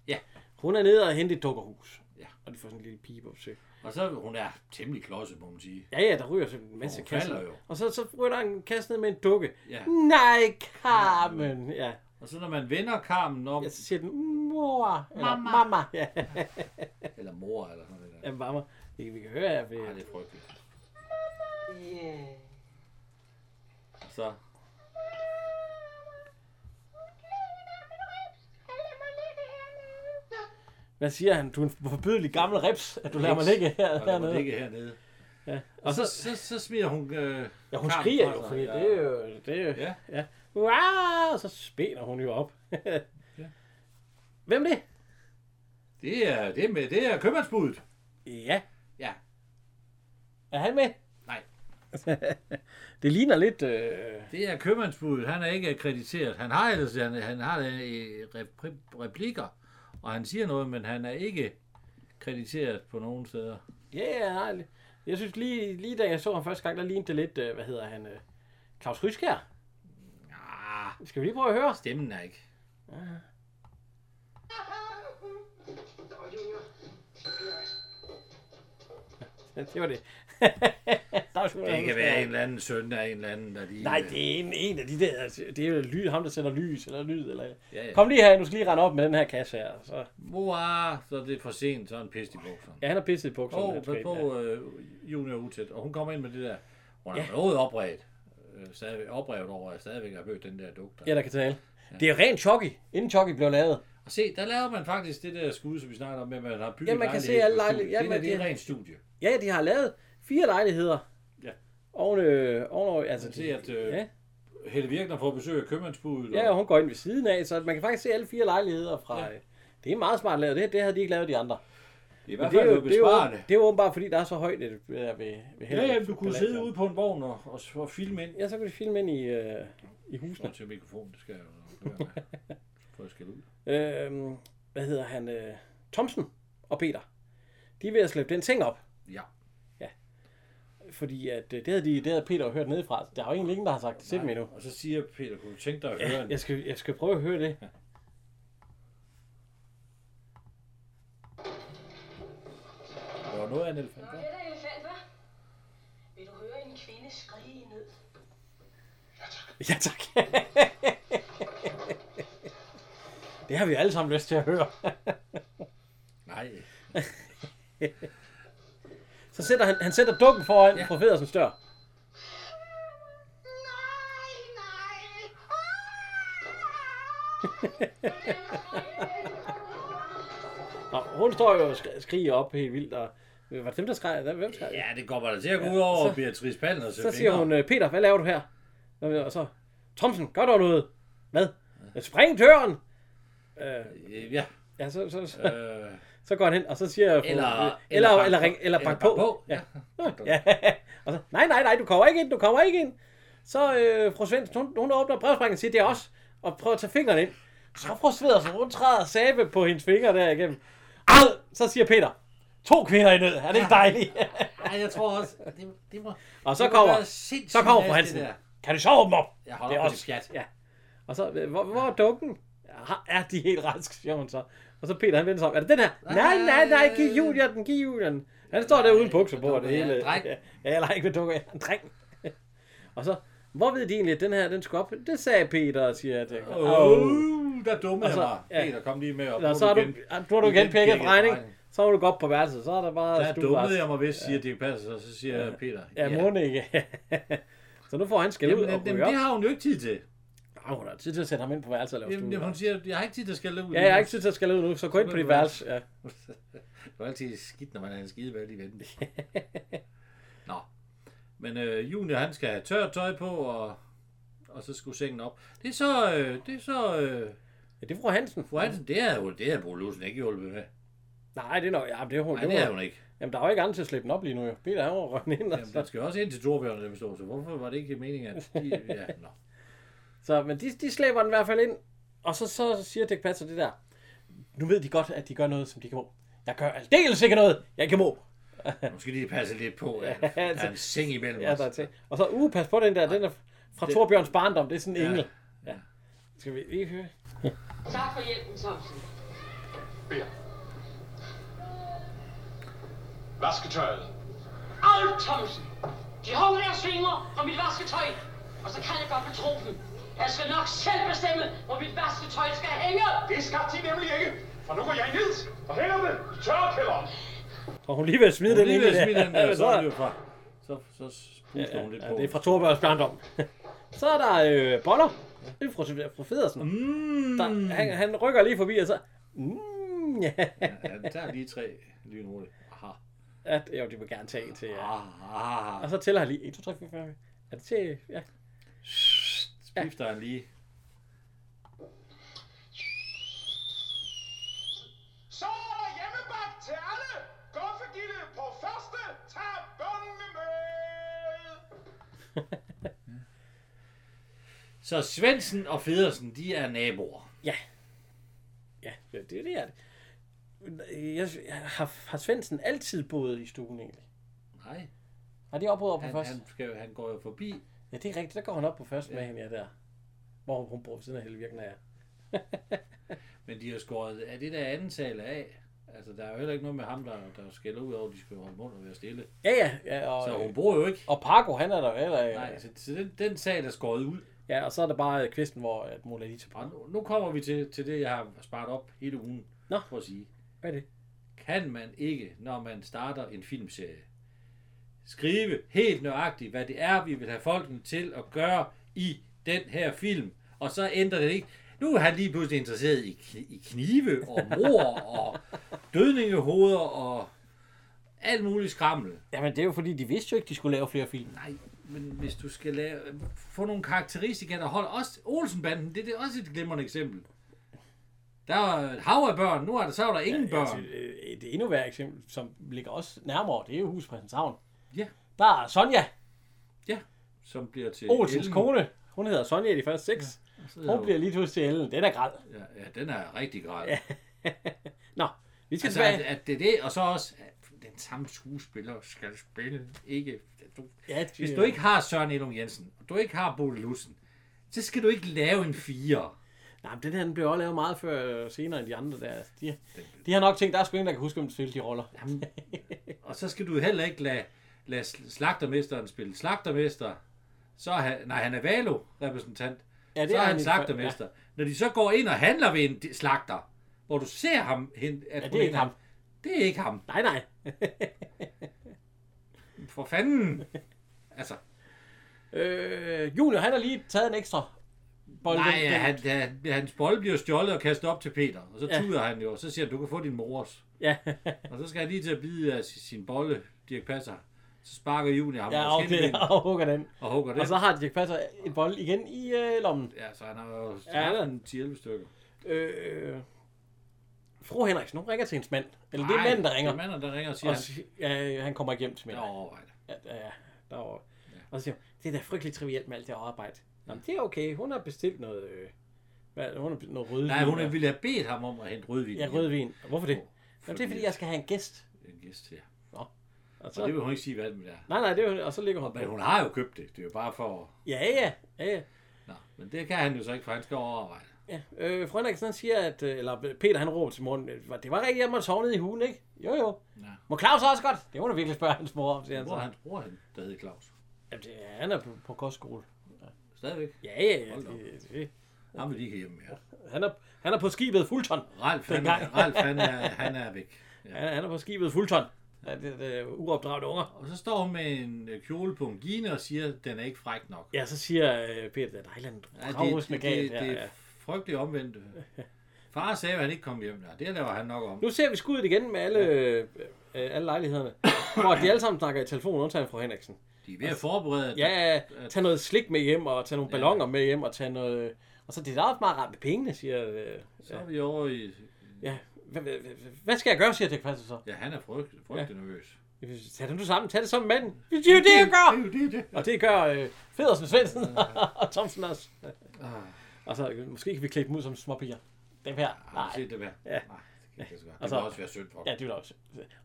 Ja. Hun er nede og hente et dukkerhus. Ja. Og de får sådan en lille pige på besøg. Og så hun er temmelig klodset, må man sige. Ja, ja, der ryger sådan en masse hun falder kasser. jo. Og så, så ryger der en kasse ned med en dukke. Ja. Nej, Carmen! Ja. Og så når man vender karmen om, ja. Så siger den, mor. Eller, mamma. Mamma. Ja, eller mor eller sådan noget. ja Ja. mamma. Vi, kan- vi kan høre, at vi... Ej, det er frygteligt. Yeah. Og så, Hvad siger han? Du er en forbydelig gammel reps, at du lader mig Rips. ligge her, og der må hernede. ligge hernede. Og Og så, så, så, så smider hun... Øh, ja, hun karmen skriger fra jo, sig, fordi ja. det er jo, det er jo, ja. Ja. ja. Wow, og så spænder hun jo op. Ja. Hvem er det? Det er, det er, med, det er købmandsbuddet. Ja, Ja. er han med? Nej. det ligner lidt, øh, Det er købmandsbuddet. Han er ikke krediteret. Han har ellers han, han har øh, repri- replikker, og han siger noget, men han er ikke krediteret på nogen steder. ja, yeah, nej. li- Jeg synes lige, lige da jeg så ham første gang, der lignede det lidt, øh, hvad hedder han, øh, Claus Ryskjær. Ah, Skal vi lige prøve at høre? stemmen er ikke. Det var det. der var sgu Det noget, kan der være var- en eller anden søn af en eller anden, der lige... Nej, det er en, en af de der, altså, det er jo ly, ham der sender lys, eller lyd, eller... Ja, ja. Kom lige her, du skal lige rende op med den her kasse her. Så, Mor, så er det for sent, så er en pist i bukserne. ja, han har pisset i bukserne. Åh, han pas skal ind, ja. på øh, junior utæt. Og hun kommer ind med det der. Hun er Ja. noget opredt. Øh, stadigvæk, oprevet over, at jeg stadigvæk har mødt den der duk. Der. Ja, der kan tale. Det er rent Chucky, inden Chucky blev lavet. Og se, der laver man faktisk det der skud, som vi snakker om, med, at man har bygget Ja, man kan se lejlighed alle lejligheder. Ja, på studie. det, men der, det er det- et rent studie. Ja, de har lavet fire lejligheder. Ja. Oven, øh, oven, altså, Man ser, at øh, ja, Helle Virkner får besøg af købmandsbuddet. ja, og og, hun går ind ved siden af, så man kan faktisk se alle fire lejligheder fra... Ja. Ja. Det er meget smart lavet. Det, det havde de ikke lavet de andre. det er i Men hvert det er, fald jo, noget det, er jo, besparende. det er jo åbenbart, fordi der er så højt et, øh, ved, ved, ved Ja, ja, Hellerup du kunne Palads. sidde ude på en vogn og, og, og filme ind. Ja, så kunne de filme ind i, øh, i husene. Nå, til mikrofonen, det skal jeg jo nok lade være med. Prøv at skælde ud. Øhm, hvad hedder han? Øh, Thomsen og Peter. De er ved at slæbe den ting op. Ja. fordi at, øh, det, havde de, det havde Peter jo hørt nedefra. Der er jo egentlig ingen, der har sagt det til dem endnu. Og så siger Peter, kunne du tænke dig at høre en... Jeg skal, jeg skal prøve at høre det. Der var noget af en elefant, Nå, hva'? her er der elefanter. Vil du høre en kvinde skrige i nød? Ja, tak. det har vi alle sammen lyst til at høre. Nej. Så sætter han, han sætter dukken foran ja. Pedersens dør. Nej, nej. Nå, hun står jo og skri- skriger op helt vildt, og øh, var det dem, der skreg? Der- Hvem skreg? Ja, Ja, det går bare da til at gå ud over så- Beatrice Pallen og så siger hun, øh, Peter, hvad laver du her? Og og så, Thomsen, gør dog noget. Hvad? Ja. Spring døren! Øh, Ja, ja, så, så, så, øh, så går han hen, og så siger fru- Eller- øh, eller eller, eller, bank på. eller, ring, eller bank på. Ja. ja. Og så, nej, nej, nej, du kommer ikke ind, du kommer ikke ind. Så øh, fru Svendsen, hun, hun åbner brevsprækken og siger, det er os, og prøver at tage fingrene ind. Så fru Svendsen, hun træder sæbe på hendes fingre der igennem. Ad! Så siger Peter, to kvinder i nød, er det ikke dejligt? Nej, jeg tror også, det, det må... og så det må kommer, være sindssygt så kommer fru nasty, Hansen. det der. Kan du så åbne op? Jeg holder op med det pjat. Ja. Og så, øh, hvor, hvor er dukken? Har- Er de helt rask, siger hun så. Og så Peter, han vender sig om. Er det den her? Nej, nej, nej, giv Julia den, giv Julia den. Han står der uden bukser på, og det dukker, ja. hele. Dreng. Ja, jeg leger ikke med dukker, jeg er en dreng. og så, hvor ved de egentlig, at den her, den skulle op? Det sagde Peter, og siger jeg. Åh, oh, der dumme Og jeg så- mig. ja. Peter, kom lige med op. Nå, så har du, Igen. ah, du har du Igen igen pækket pækket regning. regning. Så er du godt på værelset, så er der bare Der stueplads. dummede jeg mig vist, siger Dirk Passer, og så siger Peter. Ja, må den ikke. så nu får han skæld ud Jamen, og jamen, ryger det op. har hun jo ikke tid til. Ah, hun har tid til at sætte ham ind på værelset og lave Jamen, jamen, stue. hun siger, jeg har ikke tid til at skælde ud. Ja, jeg har ikke tid til at skælde ud nu, så gå ind Så på gå dit ind på værelse. Ja. Det var altid skidt, når man er en skidevældig ven. Nå. Men øh, Junior, han skal have tørt tøj på, og, og så skulle sengen op. Det er så, øh, det er så, øh, ja, det er fru Hansen. fru Hansen, det er jo, det er Bo Lusen ikke hjulpet med. Nej, det er nok, ja, det er hun. Nej, det er hun. hun ikke. Jamen, der er jo ikke andet til at slippe den op lige nu. jo. Peter, han var røgnet ind. Jamen, den Altså. skal også ind til Torbjørn, det forstår, så hvorfor var det ikke meningen, at de, ja, nå. Så, men de, de slæber den i hvert fald ind. Og så, så siger Dirk Passer det der. Nu ved de godt, at de gør noget, som de kan må. Jeg gør aldeles ikke noget, jeg kan må. Nu skal de lige passe lidt på, at Ja, der er altså- en seng imellem Ja, os. der er til. Og så, uh, pas på den der. Den er fra Torbjørns barndom. Det er sådan en engel. Ja. Skal vi lige høre? Tak for hjælpen, Thomsen. Bær. Vasketøjet. Alf Thomsen. De hungrer og svinger fra mit vasketøj. Og så kan jeg godt betro dem. Jeg skal nok selv bestemme, hvor mit vasketøj skal hænge. Det skal de nemlig ikke. For nu går jeg ned og hælder det i tørrekælderen. Og hun er lige ved at smide Hun er den lige engel. ved at smide den Ja, der, men så er- er det jo fra. Så, så puster hun lidt Ja, på. det er fra Torbjørns barndom. så er der øh, boller. Det er fra, fra Federsen. Mm. Der, han, han rykker lige forbi, og så... Mm, ja. Ja, den tager lige tre lynhurtigt. Aha. At, jo, de vil gerne tage en til, ja. Aha. Og så tæller han lige 1, 2, 3, 4, 5, 5. Er det til? Ja. Skifter han lige. Så er der hjemmebagt til alle. Guffegilde på første. Tag børnene med. Så Svendsen og Federsen, de er naboer. Ja. Ja, ja det er det, er det. Jeg, jeg, har, har Svendsen altid boet i stuen, egentlig? Nej, Har de opboet op på han, først? han, skal, jo- han går jo forbi. Ja, det er rigtigt. Der går han op på først ja. med hende, ja, der. Hvor hun bor ved siden af Helvirken, ja. Men de har skåret af det der anden sal af. Altså, der er jo heller ikke noget med ham, der, der skælder ud over, at de skal holde mund og være stille. Ja, ja. ja og, øh, Så hun bor jo ikke. og Paco, han er der jo heller ikke. Nej, så, så den, den sal er skåret ud. Ja, og så er der bare øh, kvisten, hvor at Mona lige tager Og nu, nu kommer vi til, til det, jeg har sparet op hele ugen. Nå. For at sige. Hvad er det? kan man ikke, når man starter en filmserie, skrive helt nøjagtigt, hvad det er, vi vil have folkene til at gøre i den her film. Og så ændrer det ikke. Nu er han lige pludselig interesseret i, kni- i knive og mor og dødningehoveder og alt muligt skrammel. Jamen, det er jo fordi, de vidste jo ikke, de skulle lave flere film. Nej, men hvis du skal lave, få nogle karakteristika, der holder også Olsenbanden, det, det er også et glimrende eksempel. Der var et hav af børn, nu er der, så er der ingen ja, Altså, børn. øh, det endnu værre eksempel, som ligger også nærmere, det er jo Huspræsenshavn. Ja. Der er Sonja, Ja, som bliver til Olsens Ellen. kone. Hun hedder Sonja i de første seks. Så Ja. Hun bliver lige pludselig til Ellen. Den er græd. Ja, ja, den er rigtig grad. Ja, Nå, vi skal altså, tilbage. at, at det er det, og så også, at den samme skuespiller skal spille. Ikke, du, Ja, hvis det- du ikke har Søren Elung Jensen, og du ikke har Bode Lussen, så skal du ikke lave en fire. Nej, men den her den blev også lavet meget før øh, senere end de andre der. Altså, De, de har nok tænkt, der er sgu ingen, der kan huske, om de spiller de roller. Jamen, og så skal du heller ikke lade, lade sl- slagtermesteren spille slagtermester. Så er han, nej, han er Valo-repræsentant. Ja, det så er er han han i- slagtermester. Ja. Når de så går ind og handler ved en di- slagter, hvor du ser ham hen, at Ja, hun det er ikke ham. Det er ikke ham. Nej, nej. For fanden. Altså, Øh, Junior, han har lige taget en ekstra bold. nej, Den- den- han, han, hans bold bliver stjålet og kastet op til Peter. Og så Ja. tuder han jo, og så siger han, du kan få din mors. Ja, Og så skal han lige til at bide af sin- sin bolle, Dirk Passer. Så sparker Junior ham ja på okay, skinbenet og hugger den. og hugger det. Og så har Dirk Passer en bold igen i øh, lommen. Ja, så han har jo Ja. ja. en 10-11 stykker. Øh, fru Henriksen, hun ringer til hendes mand. Eller det er manden, der ringer. Det er manden, der ringer og siger, Og at si- ja, han kommer ikke hjem til han mig. "Nå, overvej det. Ja, ja, ja, derovre. Ja. Og så siger hun, det er da frygteligt trivielt med alt det arbejde. Jamen, det er okay. Hun har bestilt noget... Øh, hvad, hun har bestilt noget rødvin. Nej, hun der. ville have bedt ham om at hente rødvin. Ja, rødvin. Og Hvorfor det? Jamen, det er, fordi jeg skal have en gæst. En gæst, ja. Og så, Og det vil hun ikke sige, hvad det er. Nej, nej, det er, jo- og så ligger hun Men på. hun har jo købt det. Det er jo bare for... Ja, ja, ja, ja. Nå, men det kan han jo så ikke, for han skal overveje det. ja. Øh, fru Henriksen han siger, at... øh, Eller Peter, han råber til morgen, det var rigtigt, at man sov nede i hulen, ikke? Jo, jo. Ja. Må Claus også godt? Det må du virkelig spørge hans mor om, siger han Hvor er så. hans bror, han, der hedder Claus? Jamen, det, er- han er på, på kostskole. Stadigvæk. Ja, ja, ja. Hold da op. Det, det, Han vil de ikke hjemme mere. han, er, han er på skibet Fulton. Ralf, han, Dengang. er, Ralf, han, er, han er væk. Ja. Han, han er på skibet Fulton. Ja, det, det er uopdragende unger. Og så står hun med en øh, kjole på en gine og siger, at den er ikke fræk nok. Ja, så siger øh, Peter, det er dejligt, at Ja, du det, det, det, det er frygteligt omvendt. Far sagde, at han ikke kom hjem. Nej, det laver han nok om. Nu ser vi skuddet igen med alle, øh, øh, alle lejlighederne, hvor de alle sammen snakker i telefon, undtagen fru Henriksen. De er ved at forberede. at- Altså, Ja, tag noget slik med hjem, og tag nogle ballonger med hjem, og tag noget... Og så det er da også meget rart med pengene, siger... Øh, Så er vi over i... ja, hvad, hvad- hvad- hvad skal jeg gøre, siger Dirk Passer så. Ja, han er frygtelig, frygtelig ja. nervøs. Tag det nu sammen, tag det som manden. Det er jo det, jeg gør! Det er jo det, det. Og det gør øh, Federsen, Svendsen og Thomsen også. Ah. Og så øh, måske kan vi klæde dem ud som småpiger. Dem her. Har du Nej. set det være? Ja. Nej, det kan ikke så godt. Og Det så- må også være synd for. Ja, det vil også.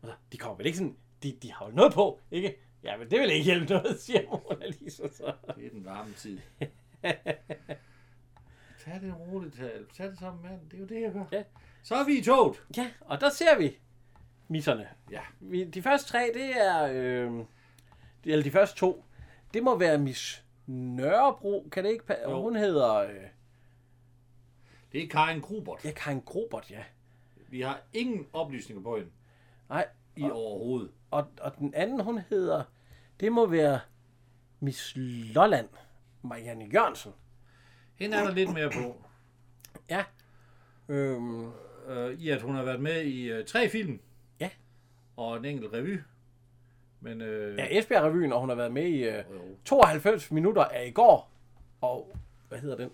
Og så, de kommer vel ikke sådan... De, de har jo noget på, ikke? Ja, men det vil ikke hjælpe noget, siger Mona Lisa så. Det er den varme tid. Tag det roligt, Tal. Tag det sammen, mand. Det er jo det, jeg gør. Ja. Så er vi i toget. Ja, og der ser vi misserne. Ja. Vi, de første tre, det er... Øh, de- eller de første to. Det må være Miss Nørrebro, kan det ikke? pa- Jo. Hun hedder... Øh, Det er Karin Grubert. ja, Karin Grobert, ja. Vi har ingen oplysninger på hende Nej, i overhovedet. og, og den anden, hun hedder... Det må være Miss Lolland. Marianne Jørgensen. Hende er der lidt mere på, Ja. Øhm, øh, i at hun har været med i øh, tre film. Ja. Og en enkelt revy. Men øh, ja, Esbjerg-revyen, og hun har været med i øh, Jo. 92 minutter af i går. Og hvad hedder den?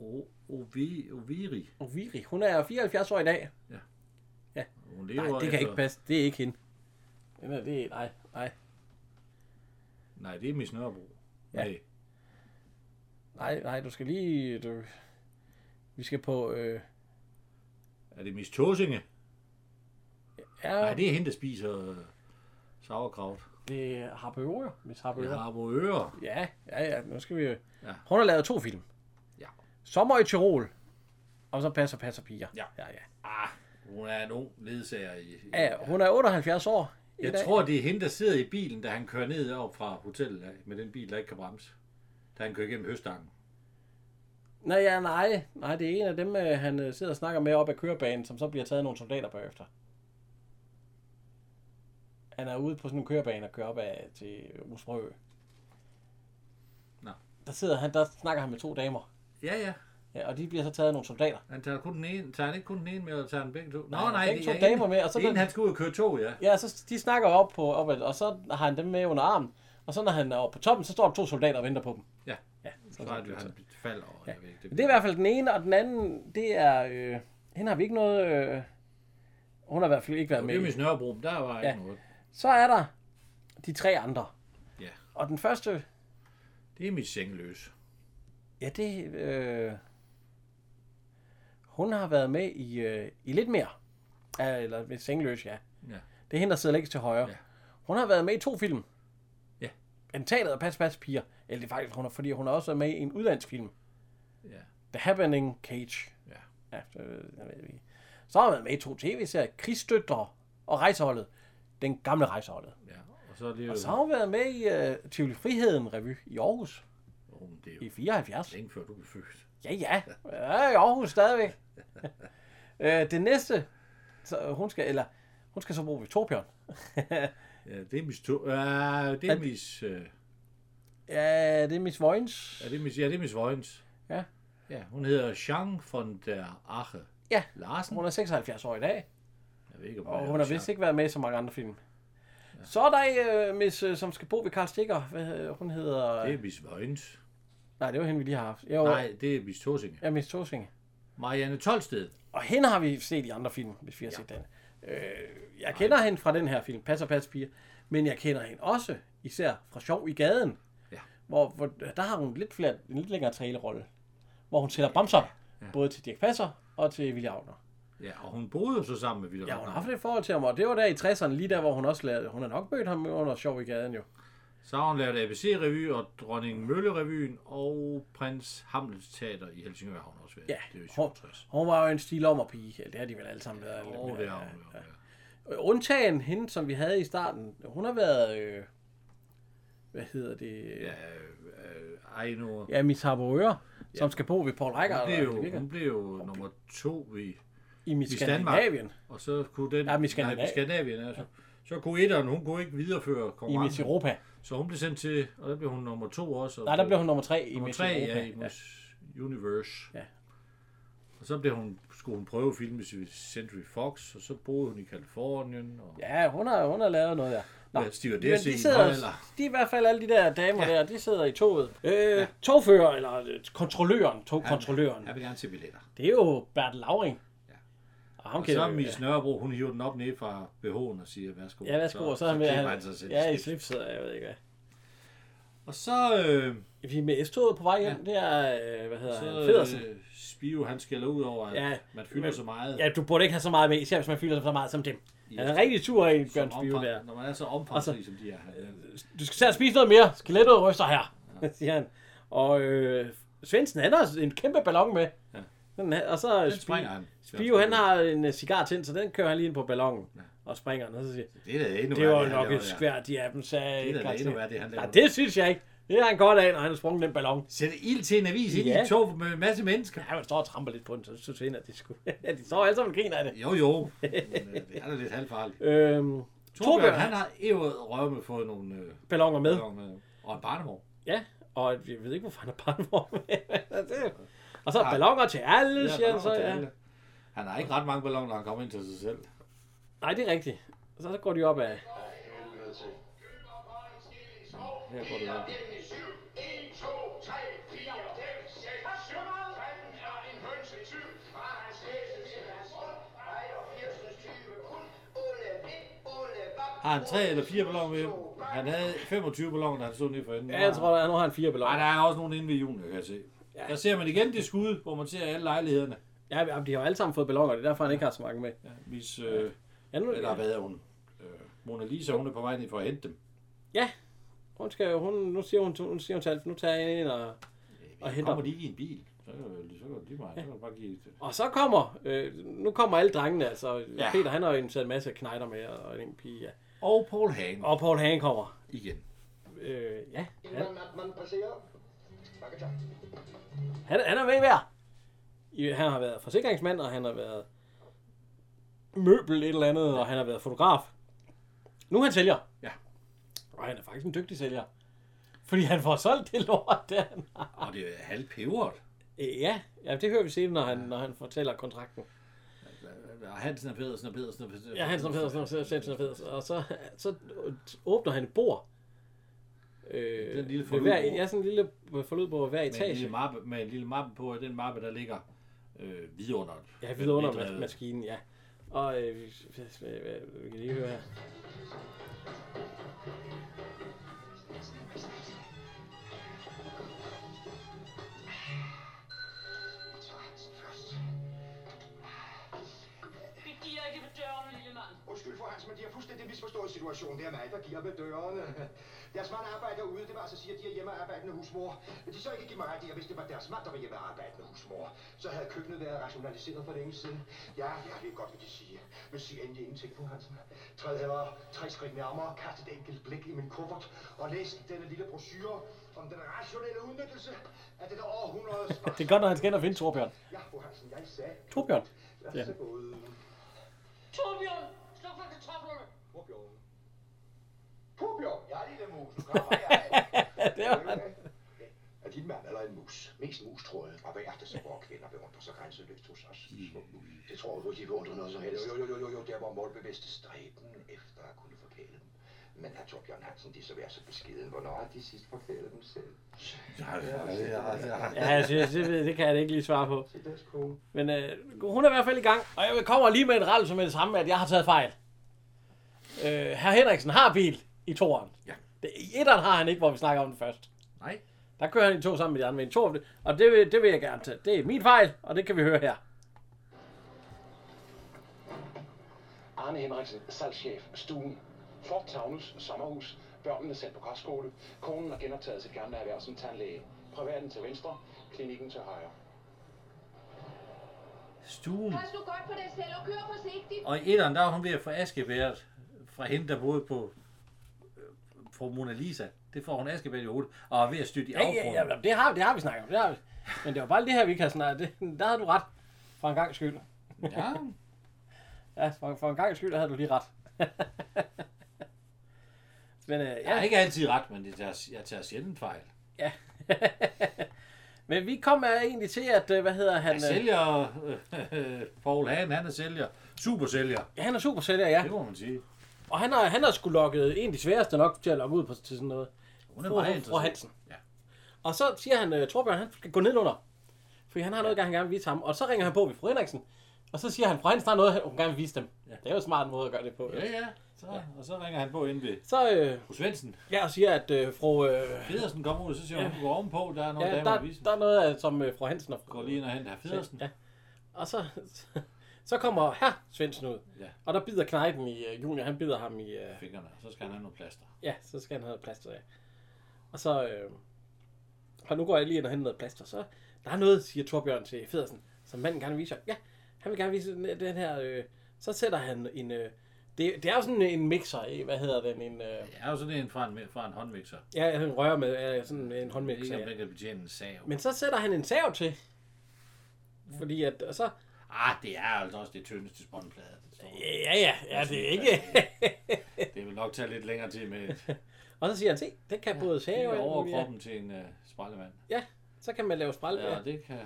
O- Ovi- Oviri, Oviri. Hun er 74 år i dag. hun lever altså- Nej, det kan efter- ikke passe. Det er ikke hende. Jamen, det er, nej, nej, Nej, det er Miss Nørrebro. Ja. Ja. Nej. nej, nej, du skal lige... Du, vi skal på... Øh, Er det Miss Tåsinge? ja, Nej, nej, det, det er hende, der spiser øh, sauerkraut. det er Harpøver. Miss Det Harpøver. har øre. Ja, ja, ja, nu skal vi... Ja. Ja. Hun har lavet to film. Ja. Sommer i Tirol. Og så passer, passer piger. Ja. ja, ja. Ah, hun er en ung ledsager i... i- ja hun er 78 år i jeg dag. tror, det er hende, der sidder i bilen, da han kører ned op fra hotellet af, med den bil, der ikke kan bremse. Da han kører igennem høstangen. Nej, ja, nej, nej, det er en af dem, øh, han øh, sidder og snakker med op ad kørebanen, som så bliver taget af nogle soldater bagefter. Han er ude på sådan en kørebane og kører op ad til Osbrø. Nå. Der sidder han, der snakker han med to damer. Ja, ja. Ja, og de bliver så taget af nogle soldater. Han tager, kun den ene, tager han ikke kun den ene med, og tager den begge to. Nå, han nej, nej begge det to er en- damer med, og så det er den- en, han skal ud og køre tog, ja. Ja, så de snakker op på, op ad, og så har han dem med under armen. Og så når han er oppe på toppen, så står der to soldater og venter på dem. Ja, Ja, så, så er det, han falder over. Ja. Jeg ved, ikke, Men det er i hvert fald den ene, og den anden, det er... Øh, hende har vi ikke noget... Øh, hun har i hvert fald ikke været med. Det er i. Miss Nørrebro, men der var ikke Ja. noget. Så er der de tre andre. Ja. Og den første, Det er Miss Sengeløs. ja det, øh, hun har været med i, øh, i lidt mere, Ja, eller med Sengløs, ja. Ja. Det er hende, der sidder længst til højre. Ja. Ja. Hun har været med i to film. Ja. Antaget og Pas Pas Piger. Eller det er faktisk, hun har, fordi hun har også været med i en udlandsk film. Ja. The Happening Cage. Ja. Ja, så, øh, jeg ved ikke. så har hun været med i to tv-serier. Krigsstøtter og Rejseholdet. Den gamle Rejseholdet. ja. Og så er det jo... Og så har hun været med i øh, Tivoli Friheden Revy i Aarhus Åh, men det er i jo 74. længe før du blev født. Ja, ja. Ja, i Aarhus stadigvæk. øh, det næste, så hun skal, eller hun skal så bruge Victorbjørn. Ja, det er mis... To... Ja, det er mis... øh, ja, det er Miss Vojens. Ja, det er mis... Ja, det er mis Vojens. Ja. Ja, hun hedder Jean von der Ache Ja, Larsen. hun er 76 år i dag, Jeg ved ikke, om og hun har vist ikke været med i så mange andre film. Så er der øh, Miss, øh, som skal bo ved Karl Stikker. Hvad, øh, hun hedder... Det er mis Vojens. Nej, det var hende, vi lige har haft. Jo, Nej. Nej, det er mis Torsinge. Ja, Miss Tosinge. Marianne Tolsted. Og hende har vi set i andre film, hvis vi har set den. Øh, jeg kender hende fra den her film, Pas og Pas Piger, men jeg kender hende også, især fra Sjov i gaden, Ja. hvor, hvor der har hun lidt flere, en lidt længere talerolle, hvor hun sætter bamser, både til Dirk Passer og til Willy Agner. Ja, og hun boede jo så sammen med Vilhelm. Ja, hun har haft et forhold til ham, og det var der i 60'erne, lige der, hvor hun også lavede, hun har nok mødt ham under Sjov i gaden jo. Så har hun lavet ABC-revy og Dronning Mølle-revyen og Prins Hamlets Teater i Helsingør har hun også været. Ja, det er jo hun, 67. hun var jo en stilommerpige, eller det har de vel alle sammen været. lidt Åh, oh, mere, det har ja. hun jo. Ja. Undtagen hende, som vi havde i starten, hun har været, øh, hvad hedder det? Ja, øh, ej nu. Ja, Miss Harboøre, ja. som skal bo ved Paul Reichard. Hun blev eller hvad jo, det virker, hun blev jo nummer to i, I Miss Miss Skandinavien. og så kunne den... Ja, Miss nej, Miss Skandinavien, altså. Så kunne etteren, hun kunne ikke I videreføre Miss konkurrencen. Europa. Så hun blev sendt til, og der blev hun nummer to også. og Nej, der blev hun nummer tre i nummer Miss tre, Europa. ja, i Miss Universe. Ja. Og så blev hun, skulle hun prøve at filme i Century Fox, og så boede hun i Kalifornien. Og... ja hun, har, hun har lavet noget der. Nå, Ja, Stewardesse men i de, en sidder, højalder. de er i hvert fald alle de der damer ja. der, de sidder i toget. Øh, ja. Togfører, eller øh, kontrolløren, togkontrolløren, Jeg vil gerne se billetter. det er jo Bert Lauring. Og ham Og så er jo- Miss Nørrebro, hun hiver den op ned fra BH'en og siger, værsgo. Ja, værsgo, og så, han, så klipper han, han sig selv. Ja, i slipset, jeg ved ikke hvad. Og så, øh, Vi er med S-toget på vej hjem, ja. det er, øh, hvad hedder han, så Federsen. øh, Spiro, han skælder ud over, at Ja, ja, man fylder men- så meget. Ja, du burde ikke have så meget med, især hvis man fylder så meget som dem. Han er rigtig sur i som Bjørn Spive omfang- der. Når man er så omfangsrig, som de er. Øh, Du skal selv spise noget mere. Skelettet ryster her, siger han. Og øh, Svendsen, han har en kæmpe ballon med. Ja. Ja. Den, her- og så Den springer han. Spio, han har en øh, cigar tændt, så den kører han lige ind på ballonen. Ja. Og springer den, og så siger Det er da endnu det værre, var han nok laver et der. skvært i appen, sagde Det er da Carsten. endnu værre, det han laver. Nej, det synes jeg ikke. Det er han godt af, når han har sprunget den ballon. Sætter ild til en avis ind i Ja. et tog med en masse mennesker. Ja, man står og tramper lidt på den, så synes jeg, at de, skulle. de står alle sammen og griner af det. Jo, jo. Men, øh, det er da lidt halvfarligt. Øhm, Torbjørn, han har jo rømme fået nogle øh, balloner med. balloner og en barnevogn. Ja, og jeg ved ikke, hvorfor han er barnevogn med. Det- og så er balloner til alle, siger han så. balloner til Ja. alle. Han har ikke ret mange balloner, når han kommer ind til sig selv. Nej, det er rigtigt. Så, så går de op af. Her går det op. Har han tre eller fire balloner med? Han havde 25 balloner, da han stod nede for enden. Ja, jeg tror, at nu har han fire Nej, balloner. der er også nogen inde ved julen, kan jeg se. Ja. Der ser man igen det skud, hvor man ser alle lejlighederne. Ja, jamen, de har jo alle sammen fået balloner, det er derfor, han ikke har så mange med. Ja, hvis, øh, Ja, nu, eller hvad er hun? Øh, Mona Lisa, hun er på vej ned for at hente dem. hun skal jo, hun, nu siger hun, hun siger hun til alt, nu tager jeg ind og... Og henter Kommer dem. de ikke i en bil? Så er det jo- så er det lige meget. Så kan du bare give et... Og så kommer, øh, nu kommer alle drengene, altså ja. Ja. Peter, han har jo inviteret en masse knejder med, og en pige, ja. Og Paul Hagen. Og Paul Hagen kommer. Igen. Øh, ja, Inden at man passerer. Mange tak. han, han er med i hver. I- Han har været forsikringsmand, og han har været møbel et eller andet, og han har været fotograf. Nu er han sælger. Ja. Og han er faktisk en dygtig sælger. Fordi han får solgt det lort, der han har. Og det er halvpeberet. Øh, Ja, ja det hører vi senere, når han, når han fortæller kontrakten. Og Øh, Hansen og Pedersen og Pedersen og Pedersen. Ja, Hansen og Pedersen og Svendsen og Pedersen. Og så, så åbner han et bord. Øh, Den lille ved hver, forludbord. ja, sådan en lille forludbord hver Med en, etage. lille mappe, med en lille mappe på, og den mappe, der ligger øh, vidunder. Ja, vidunder mas- Nedrevet. maskinen, ja. Og øh, vi, vi, vi, vi kan lige høre her. Vi giver ikke på døren, lille mand. Undskyld for Hans, men de har fuldstændig misforstået situationen. Det er mig, der giver med dørene. Deres mand arbejder ude, det var altså siger, at de er hjemmearbejdende husmor. Hvis de så ikke giver mig ret i, at hvis det var deres mand, der var hjemmearbejdende husmor, så havde køkkenet været rationaliseret for længe siden. Ja, jeg ved godt, hvad de siger. Men sig endelig ingenting, fru Hansen. Træd heller tre skridt nærmere, kast et enkelt blik i min kuffert og læs denne lille brochure om den rationelle udnyttelse af dette århundredes... Det er godt, når han skal ind og finde Torbjørn. Ja, fru Hansen, jeg sagde... Torbjørn. Vær så god. Torbjørn, sluk for kartoflerne. Torbjørn. Torbjørn, jeg er lille mus. Nu kommer jeg. det var han. Er din mand eller en mus? Mest mus, tror jeg. Og hvad er det så, hvor kvinder beundrer sig grænseløst hos os? Små mus. Det tror jeg, hvor de beundrer noget som helst. Mm. Jo, jo, jo, jo, jo, der var målbevidste stræben efter at kunne forkæle dem. Men herr Torbjørn Hansen, de så være så beskeden, hvornår har de sidst forkælet dem selv? Ja, ja, ja, ja. Ja, altså, jeg- det, det kan jeg da ikke lige svare på. Se deres kone. Men øh, hun er i hvert fald i gang, og jeg kommer lige med en rallelse med det samme, at jeg har taget fejl. Øh, Herr Henriksen har bil i toeren. Ja. Det, I etteren har han ikke, hvor vi snakker om den først. Nej. Der kører han i to sammen med de andre, men i to, og det, vil- det vil jeg gerne tage. Det er min fejl, og det kan vi høre her. Arne Henriksen, salgschef, stuen. Flot Tagnus, sommerhus. Børnene sendt på kostskole. Konen har genoptaget sit gamle erhverv som tandlæge. Privaten til venstre, klinikken til højre. Stuen. Pas nu godt på dig selv og kør forsigtigt. Og i etteren, der var hun ved at få askebæret fra hende, der boede på øh, på Mona Lisa. Det får hun askebæret i hovedet, og er ved at styrte i Ja, ja, ja, afgrunden. jamen, det har, det har vi snakket om. Det har vi. Men det var bare det her, vi ikke har snakket det, Der havde du ret. For en gang skyld. ja. Ja, for, for en gang skyld havde du lige ret. men øh, Jeg har ja, ikke altid ret, men det tager, jeg tager sjældent fejl. men vi kom øh, egentlig til, at, øh, hvad hedder han? Jeg øh, sælger, øh, Paul Hahn, han er sælger. Super sælger, Ja, øh, han er super sælger, ja. det må man sige. Og han har, han har sgu lukket en af de sværeste nok til at lokke ud på, til sådan noget. Hun er Fru- meget fru interessant. Hansen. Ja. Og så siger han, uh, Torbjørn, han skal gå nedenunder. Fordi han har noget, han gerne vil vise ham. Og så ringer han på ved fru Henriksen. Og så siger han, fru Henriksen har noget, hun gerne vil vise dem. Ja. Det er jo en smart måde at gøre det på. Ja, ja. Så, og så ringer han på ind ved Så øh, fru Svendsen. ja, og siger, at øh, fru... Øh, Pedersen kommer ud, og så siger hun, hun går ovenpå, der er nogle ja, ja, damer, der, der, der er noget, øh, som øh, fru Hansen og fru... Går lige ind og henter Pedersen. Ja. Og så, så kommer her Svendsen ud. Ja. Og der bider Knejten i øh, Junior. Han bider ham i... Øh, fingrene, så skal han have nogle plaster. Ja, så skal han have plaster, ja. Og så... Øh, og nu går jeg lige ind og henter noget plaster. Så der er noget, siger Torbjørn til Federsen, som manden gerne vil vise. ham. Ja, han vil gerne vise den, den her... Øh, så sætter han en... Øh, det, det er jo sådan en mixer, øh, hvad hedder den? En, øh, Det er jo sådan en fra en, fra en håndmixer. ja, en rører med øh, sådan en Jeg ved håndmixer. ikke, om Ja. den kan betjene en sav. Men... Men så sætter han en sav til. Fordi at... Og så, Ah, det er altså også det tyndeste spåndplade. den står. ja, ja, ja, det er ikke... Det vil nok tage lidt længere tid med et og så siger han, se, det kan både kig save og alt over muligt, ja. kroppen til en uh, sprællemand. ja. så kan man lave spræl. Ja, Ja, det kan...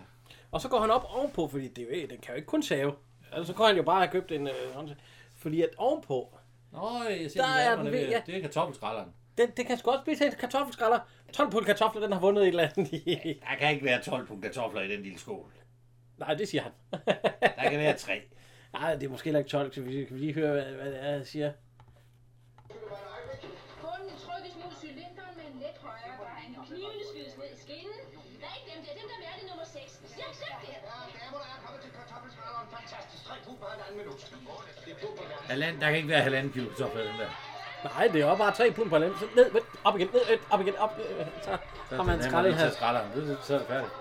Og så går han op ovenpå, fordi det, er jo ikke- den kan jo ikke kun save. Altså, så kunne han jo bare have købt en øh, håndtag. Fordi at ovenpå, Nå, jeg ser Der de er lamerne den ved. ved, ja. Det er kartoffelskralderen. den, den kan sgu også spise en kartoffelskræller. 12 pund kartofler, den har vundet et eller andet i. Der kan ikke være 12 punkt kartofler i den lille skål. Nej, det siger han. Der kan være tre. Nej, det er måske heller ikke 12, så vi, kan vi lige høre, hvad, hvad det er, jeg siger. Bunden trykkes mod cylinderen med en let højere drejning. Knivene skydes ned i skinnen. Der er ikke dem der, dem der mærke nummer 6. Jeg accept det. Ja, damer, der er kommet til kartoffelskrælleren. Fantastisk. Tre kug på halvanden minut. Det er kug på halvanden. Halvand, der kan ikke være halvanden kilo kartofler i den der. Nej, det er jo bare 3 pund på land. Så ned, vent, op igen, ned, øh, op igen, op. øh, Så har man skrællet her. her. Skralderen. Det, så er det færdigt.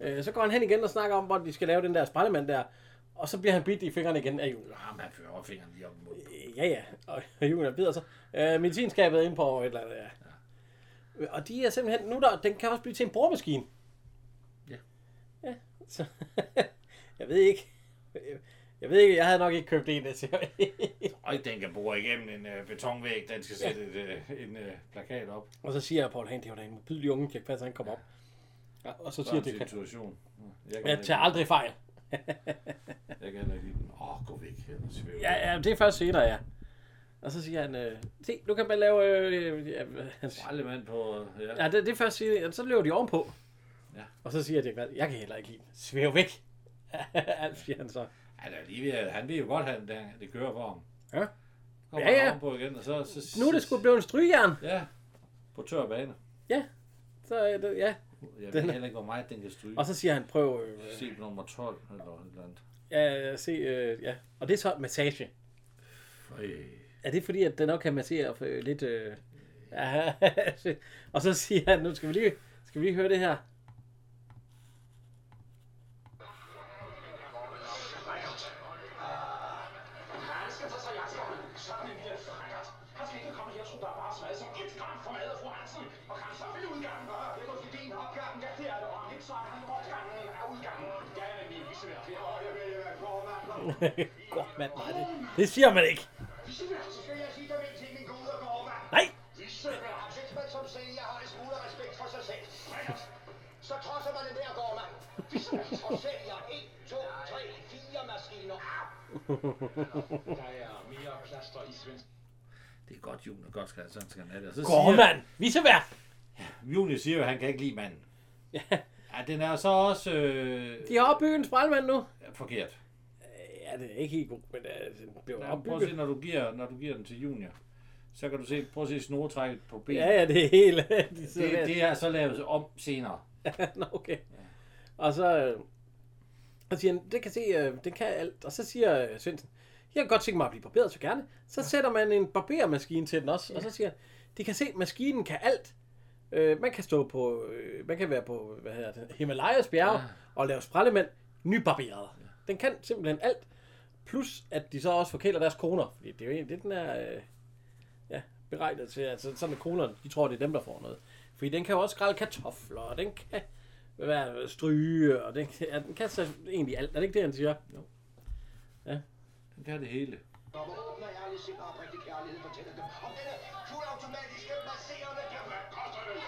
Øh, Så går han hen igen og snakker om, hvor de skal lave den der sprællemand der. Og så bliver han bidt i fingrene igen af Julia. Jamen, han fører fingeren lige op mod. Øh, Ja, ja. Og Julia bider så. Øh, medicinskabet er inde på et eller andet, ja. ja. Og de er simpelthen... Nu der, den kan også blive til en boremaskine. Ja. Ja, så... jeg ved ikke... Jeg ved ikke, jeg havde nok ikke købt en, der siger Og den kan bore igennem en øh, betonvæg. Den skal sætte et, øh, en øh, plakat op. Og så siger jeg, Paul Hahn, det var da en modbydelig unge, Dirk Passer, han kom op. Ja, og så siger Sådan jeg, det en kan... situation. Jeg kan, Jeg heller tager aldrig fejl. ikke- jeg kan heller ikke lide den. Åh, gå væk. Den svæver. Ja, ja, det er først senere, ja. Og så siger han, øh, se, nu kan man lave... Øh, ja, han siger, Aldrig mand på... øh, Ja. Ja, det, det er først sige, så løber de ovenpå. Ja. Og så siger Dirk Passer, jeg kan heller ikke lide den. Svæv væk. Alt siger han så. Han, er lige ved, at- han ved jo godt, at det, det kører for ham. Ja. Kommer Ja, ja. han på igen, og så, så... Nu er det sgu blevet en strygjern. Ja, på tør bane. Ja. Så, er det, ja. Jeg ved Den- heller ikke, hvor meget den kan stryge. Og så siger han, prøv... Øh, Se på nummer 12 eller et eller andet. ja, ja, se, øh, ja. Og det er så massage. Føj. Er det fordi, at den nok kan massere for, øh, lidt... Øh... Ja, og så siger han, nu skal vi lige, skal vi lige høre det her. Han skal tage sig i jakken. Sådan en lille frækkert. Han skal ikke komme her, som der er bare smadret som et gram for mad af fru Hansen. Og kan så vil udgangen. Det er måske ideen opgangen. Ja, det er det. Og om lidt så er han opgangen af udgangen. Ja, jeg vil vise mig. Jeg vil være formand. Godt, mand, nej, det, det siger man ikke. Så skal jeg sige dig en ting, min gode formand. Nej! Vissemærk. Hvis man som sælger har en smule respekt for sig selv, så trodser man det der, gårdmand. Vissemærk. Og sælger 1, 2, 3, 4 maskiner. Der er mere plaster i svensk. Det er godt, Juni godt skal, sådan skal han have det. Og så Går, siger, mand! Visevær! Juni siger jo, at han kan ikke lide manden. Ja. ja den er så også øh, De har opbygget en sprællemand nu. forkert. Ja, det er ikke helt godt, men øh, den blev Ja, prøv at se, opbygget. når du, giver, når du giver den til Junior. Så kan du se, prøv at se snoretrækket på benet. Ja, ja, det er helt... De sidder der. det, det, er så lavet om senere. Nå, okay. Og så, øh, så siger han, det kan se, øh, det kan alt. Og så siger øh, Svendsen, jeg kan godt tænke mig at blive barberet, så gerne. Så sætter man en barbermaskine til den også, og så siger han, de kan se, maskinen kan alt. Øh, man kan stå på, øh, man kan være på, hvad hedder det, Himalayas bjerge ja. og lave sprællemænd nybarberet. Ja. Den kan simpelthen alt. Plus, at de så også forkæler deres koner, fordi det er jo egentlig det, den er øh, ja, beregnet til. Altså, sådan at konerne, de tror, det er dem, der får noget. Fordi den kan jo også skrælle kartofler, og den kan være stryge, og den kan, ja, den kan så egentlig alt. Er det ikke det, han siger? Jo. Den kan det hele. Når man åbner ærligt sind og oprigtig kærlighed, fortæller dem om denne fuldautomatiske masserende gevær. Koster det?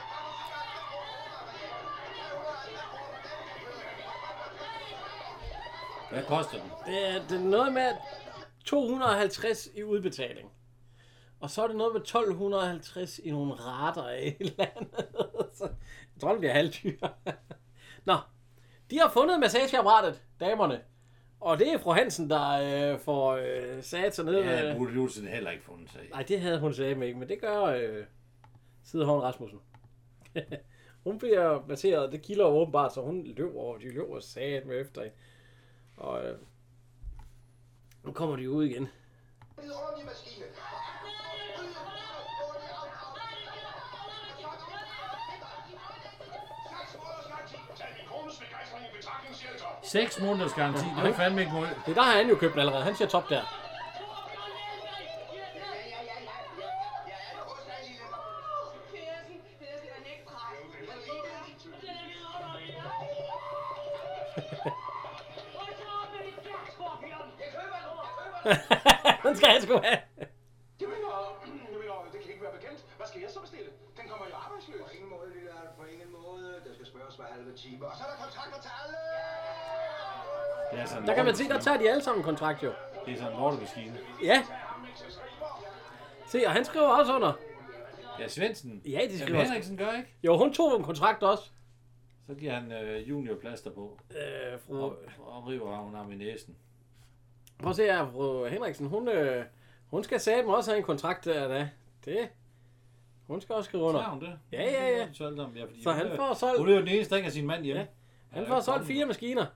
Hvad koster den? Det er, det er noget med 250 i udbetaling. Og så er det noget med 1250 i nogle rater af et eller andet. Så jeg tror, det bliver halvdyr. Nå, de har fundet massageapparatet, damerne. Og det er fru Hansen, der øh, får øh, sat sig ned. Ja, øh, Burde Julesen heller ikke fundet sig i. Nej, det havde hun sagde ikke, men det gør øh, Sidehorn Rasmussen. hun bliver baseret, og det kilder jo åbenbart, så hun løber, og de løber sat med efter hende. Og øh, nu kommer de ud igen. En ordentlig maskine. Seks måneders garanti, det er jo fandme ikke mål. Det der har han jo købt allerede, han siger top der. den skal han sgu have. Det vil jeg, det kan ikke være bekendt. Hvad skal jeg så bestille? Den kommer jo arbejdsløs. På ingen måde, lille Alf, på ingen måde. Der skal spørges hver halve time. Og så er der kontrakter til alle! Det er sådan en Der kan man se, der lortemaskine. tager de alle sammen kontrakt jo. Det er sådan en lortemaskine. Ja, se, og han skriver også under. Ja, Svendsen. Ja, de Jamen, skriver også. Henriksen gør ikke. Jo, hun tog en kontrakt også. Så giver han øh, junior plaster på. Øh, fru, Og, og river hun ham i næsen. Prøv at se her, fru Henriksen, hun, øh, hun skal satme også have en kontrakt der, da. Det. Hun skal også skrive Tager under. hun det? Ja, ja, ja. Så, ja fordi Så han får solgt- Hun er jo den eneste, der ikke har sin mand hjemme. Ja. Han får solgt fire maskiner.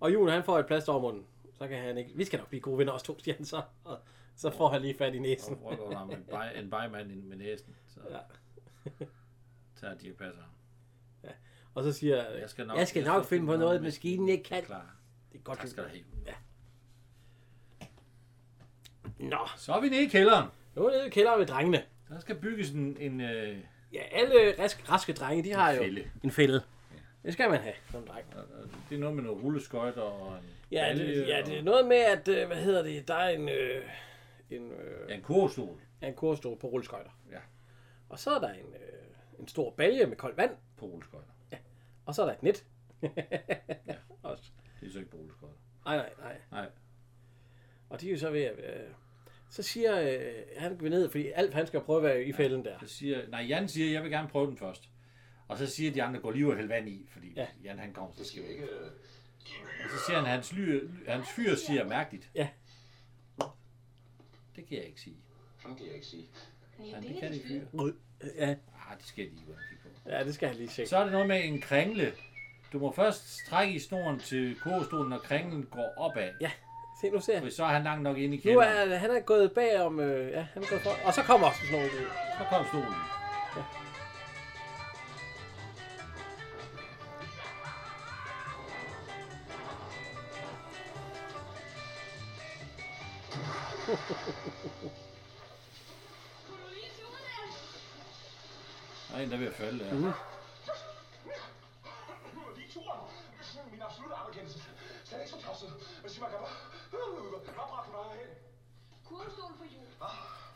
Og Jon, han får et plaster over munden. Så kan han ikke... Vi skal nok blive gode venner også to, siger han så. Og så får han lige fat i Så næsen. prøver ham en, bej, en bejmand ind med næsen. Så Ja. ja. tager de og passer ham. Og så siger jeg, jeg skal nok, jeg skal nok finde på noget, maskinen ikke kan. Klar. Det er godt. Tak skal du have. Nå, Så er vi nede i kælderen. nu er det i kælderen ved drengene. Der skal bygges en... en øh, Ja, alle raske, raske drenge, de har jo fælde. en fælde. Det skal man have som dreng. det er noget med noget rulleskøjter og en Ja, balje det, ja, og- det er noget med, at... øh, Hvad hedder det? Der er en... Øh, en øh, Ja, en kurstol. af en kurvestol på rulleskøjter. Ja. Og så er der en, øh, en stor balje med koldt vand, På rulleskøjter. og så er der et net. ja. Også. Det er så ikke på rulleskøjter. Nej, nej, nej. Nej. Og de er jo så ved at... Øh, så siger øh, han vil ned, fordi Alf han skal prøve at være i fælden der. Så siger, nej, Jan siger, jeg vil gerne prøve den først. Og så siger de andre, gå lige og hælde vand i, fordi Ja. ja. Jan han kommer, så skal vi ikke. øh, Og så siger han, hans, ly, hans fyr siger mærkeligt. Ja. Det kan jeg ikke sige. Sådan kan jeg ikke sige. Men det kan de fyre. Ja, Ah, det skal jeg lige gå ind og kigge på. ja, det skal han lige tjekke. Så er det noget med en kringle. Du må først trække i snoren til kogestolen, når kringlen går opad. Ja, se nu ser han. Hvis så er han langt nok inde i Nu kælderen, er han er gået bagom, øh, ja, han er gået for, og så kommer også snoren ud. så kom stolen. Kunne du lige suge den? Der er en, der er ved at falde der. Mhm. Mm. Nu er lige turen. Min absolutte anerkendelse. Slet ikke så tosset. Men sig mig, gamle. Hvad bragte du dig herhen? Kurvestol på hjul.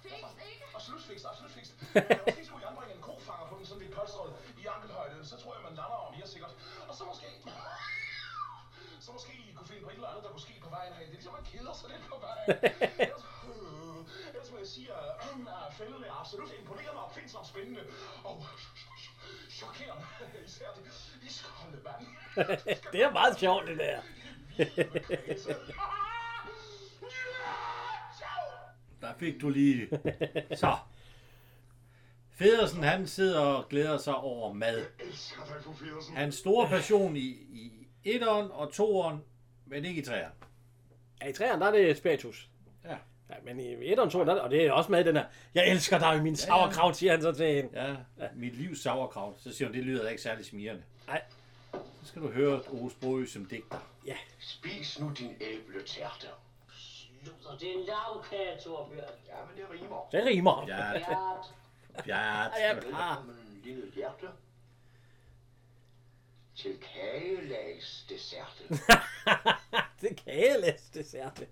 Fix, ikke? Absolut fikst, absolut fikst. Måske skulle I anbringe en kofanger på den sådan lidt polstret i ankelhøjde. Så tror jeg, man lander om jer sikkert. Og så måske... Så måske I kunne finde på et eller andet, der kunne ske på vejen her. Det er ligesom, man keder sig lidt på vejen. Ellers, øh, ellers må jeg sige, at, øh, at fælden er absolut imponerende og opfindsomt spændende. Og chokerende. Især det iskolde vand. Det er meget sjovt, det der. Der fik du lige. Så. Federsen, han sidder og glæder sig over mad. Elsker dig, fru Pedersen. Hans store passion i, i etteren og toeren, men ikke i træeren. Ja, i træerne, der er det spiritus. Ja. Ja, men i et og to, der, og det er også med i den her, jeg elsker dig, min sauerkraut, siger han så til hende. Ja, mit livs sauerkraut. Så siger hun, det lyder da ikke særlig smirende. Nej. Så skal du høre Ove Sprogøe som digter. Spis nu din æbletærte. Luder, det er en lavkage, Torbjørn. Ja, men det rimer. Det rimer. Ja. Ja, Bjart, ja. Velkommen, lille hjerte. Til kagelags desserte. Det er kagelæs, det ser det.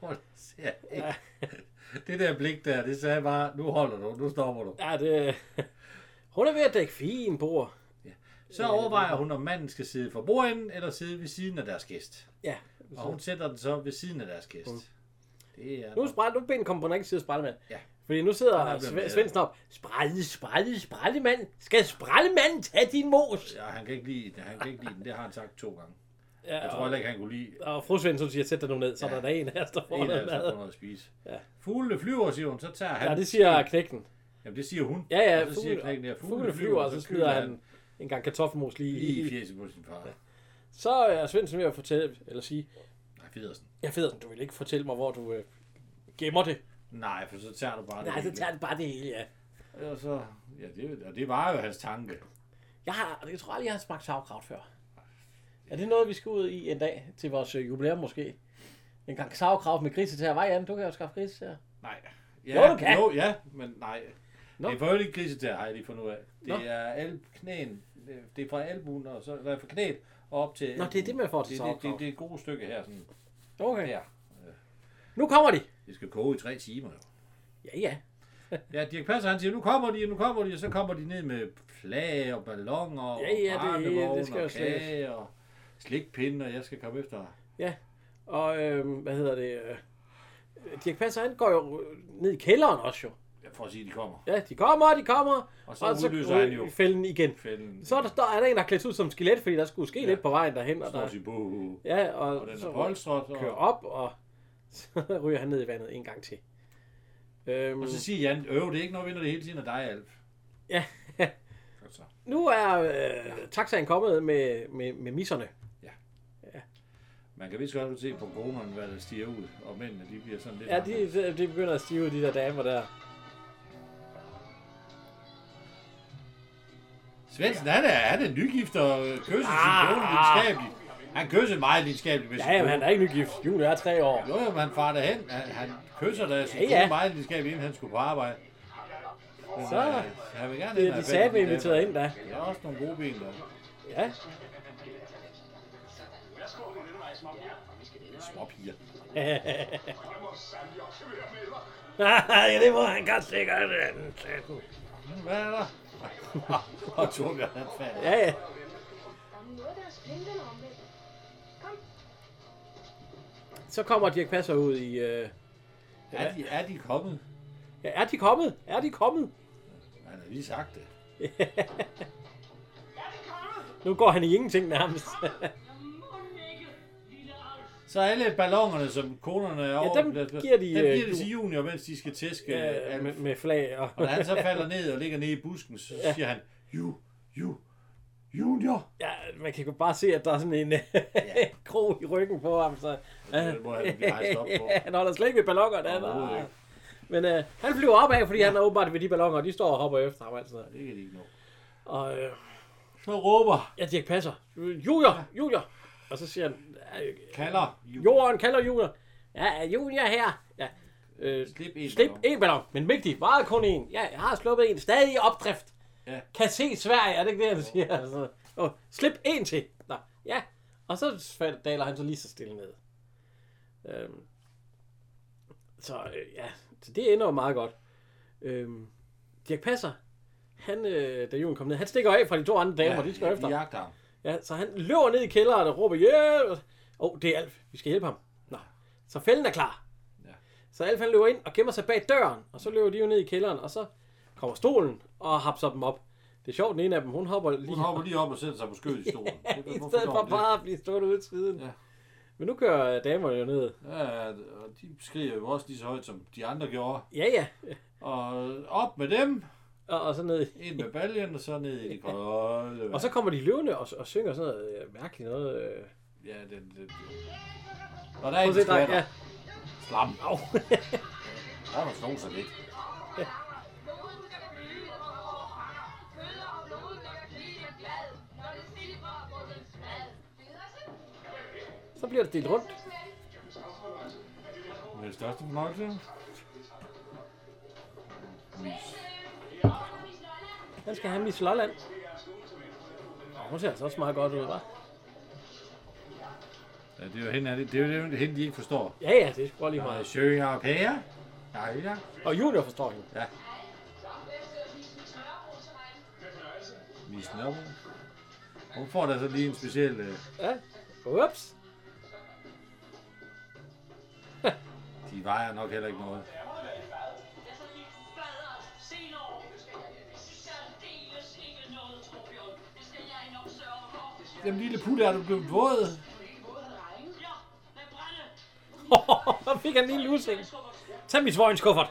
Hun ser ikke. Det der blik der, det sagde bare, nu holder du, nu stopper du. Ja, det... Hun er ved at dække fint bord. Så overvejer hun, om manden skal sidde for bordenden, eller sidde ved siden af deres gæst. Ja. Og hun sætter den så ved siden af deres gæst. Det er Nu er spræl, nu ben kommer på den anden side af sprællemanden. Ja. Fordi nu sidder Ja, det bliver Sve- bedre. Svendsen op. Sprælle, sprælle, sprællemand. Skal sprællemanden tage din mos? Ja, han kan ikke lide den. Han kan ikke lide den. Det har han sagt to gange. Ja, Jeg tror heller ikke, han kunne lide Og fru Svendsen siger, sæt dig nu ned, så Ja. der er en af os, der får en af noget dem, der får mad. noget at spise. Ja. Fuglene flyver, siger hun. Så tager han... Ja, det siger knægten. Jamen, det siger hun. Ja, ja, Og så siger knækken, fugle, ja, fuglene flyver, og så smider han en gang kartoffelmos lige lige i i. fjeset på sin far. Så er Svendsen ved at fortælle, eller sige, Nej, Federsen. jeg ved, du vil ikke fortælle mig, hvor du øh, gemmer det. Nej, for så tager du bare Nej, så hele. tager det bare det hele, ja. Og så... Ja, det, og det var jo hans tanke. Jeg, har, jeg tror aldrig, jeg har smagt sauerkraut før. Er det noget, vi skal ud i en dag til vores øh, jubilæum måske? En gang sauerkraut med grisetær. Hvad, Jan? Du kan jo skaffe grisetær. Nej. Ja, Jo, du kan. Jo, ja, men nej. Nå. Nå. Det er for øvrigt ikke grisetær, har jeg lige fundet ud af. Det Nå. er al knæen, øh, det er fra albuen, og så, eller fra knæet og op til Nå, det er det, man får til det, det, sauerkraut. det, det, er et gode stykke her. Sådan. Okay. Ja. Nu kommer de. Det skal koge i tre timer. Jo. Ja, ja. Ja, Dirk Passer, han siger, nu kommer de, nu kommer de, og så kommer de ned med flag og ballonger og Ja, ja, det- det barnevogne skal jo og kage og slikpinde, og jeg skal komme efter dig. Og øh, hvad hedder det? Øh, Dirk Passer, han går jo øh, ned i kælderen også jo. Ja, For at sige, de kommer. Ja, de kommer, de kommer. Og så udløser han jo. fælden igen. Fælden. Så er der, står, er der en, der er klædt ud som skelet, fordi der skulle ske ja. lidt på vejen derhen. Og, står der, sig på, ja, og, og den så er polstret, kører og, op, og så ryger han ned i vandet en gang til. Øhm, og så siger Jan, øv, det er ikke noget, vinder det hele tiden af dig, Alf. Altså, Ja. Godt så. nu er øh, taxaen kommet med, med, med misserne. Man kan vist godt se på konerne, hvad der stiger ud, og mændene, de bliver sådan lidt... Ja, de, de- de begynder at stive, de der damer der. Svendsen, han er, han er nygift og kysser sin Ah. kone videnskabeligt. Han kysser meget videnskabeligt med sin Ja, men kone. han er ikke nygift. Julie er tre år. Jo, jo, men han farer derhen. Han, han kysser da sin Ja, ja, ja. ja. meget lidenskab, inden han skulle på arbejde. Men, Så øh, han vil gerne Det er de ind og have sagde, fat i vi de der. inviteret ind der. Der er også nogle gode ben der. Ja, Værsgo, det er den vej, små piger. Små piger. Jeg må sandelig også være med dig. ja det må han godt sikkert. øh, Hmm, Hvad er der? og Torbjørn, han falder. Ja, ja. Der er noget, der er spændende omvendt. Kom, Så kommer Dirk Passer ud i... Øh... Er de, er de kommet? Ja, er de kommet? Er de kommet? Han har lige sagt det. Er det kommet? Nu går han i ingenting nærmest. Ah, Så alle ballongerne, som konerne er over... dem giver de, Dem øh, giver de du- til junior, mens de skal tæske. øh, Øh, med, med flag og... og da han så falder ned og ligger nede i busken, så siger han, Ju, ju, junior. Ja, man kan jo bare se, at der er sådan en ja. krog i ryggen på ham, så Det må han rejse op på. han holder slet ikke ved ballonger, der Overhovedet er ikke. Men øh, han flyver opad, fordi ja. han er åbenbart ved de ballonger, og de står og hopper efter ham altså. Det kan de ikke nå. Og øh, Så råber, ja, Dirk Passer, junior, junior. Og så siger han, øh, kalder Ju- jorden kalder junior. Ja, er junior her. Ja. Øh, Slip en Slip ballon. en ballon, men vigtig, meget kun en. Ja, jeg har sluppet en, stadig i opdrift. Ja. Kan se Sverige, er det ikke det, han siger? Altså, oh, slip en til. Nå, ja. Og så fald- daler han så lige så stille ned. Øhm. Så øh, ja, så det ender jo meget godt. Øhm. Dirk Passer, han, øh, da julen kom ned, han stikker af fra de to andre damer, ja, de skal efter. De Ja. jagter ham. ja. så han løber ned i kælderen og råber, hjælp! Åh, oh, det er Alf, vi skal hjælpe ham. Nå, så fælden er klar. Så Alf han løber ind og gemmer sig bag døren, og så løber de jo ned i kælderen, og så kommer stolen og hapser dem op. Det er sjovt, den ene af dem, hun hopper lige Hun hopper lige op og sætter sig på skødet i stolen. Det- i hvorfor stedet gør for hun det? bare at blive stået ude i siden. Ja. Ja. Men nu kører øh, damerne jo ned. Ja, og de skriger jo også lige så højt, som de andre gjorde. Ja, ja. Og op med dem, Og, og så ned. ind med baljen, og så ned i det kolde vand. Og så kommer de løvende og, og synger sådan noget øh, mærkeligt noget. Øh. Ja, det, det, det. Når der er Prøv en, at der se, dreng. skvatter, Ja. slam. Au. Der er der slået sig lidt. Så bliver det delt rundt. Med det største fornøjelse. Han skal have Miss Lolland. Og hun ser altså også meget godt ud, hva'? Ja, det er jo hende, er det, det er jo det, hende, de ikke forstår. Ja, ja, det er sgu lige Og jeg meget. søger og pære. Ja, ja. Og Junior forstår hende. Mis Nørrebro. Hun får da så lige en speciel... Øh, Ja. Ups. de vejer nok heller ikke noget. Jamen lille putte, er du blevet våd? så fik han lige en lusing. Tag mit vognskuffer.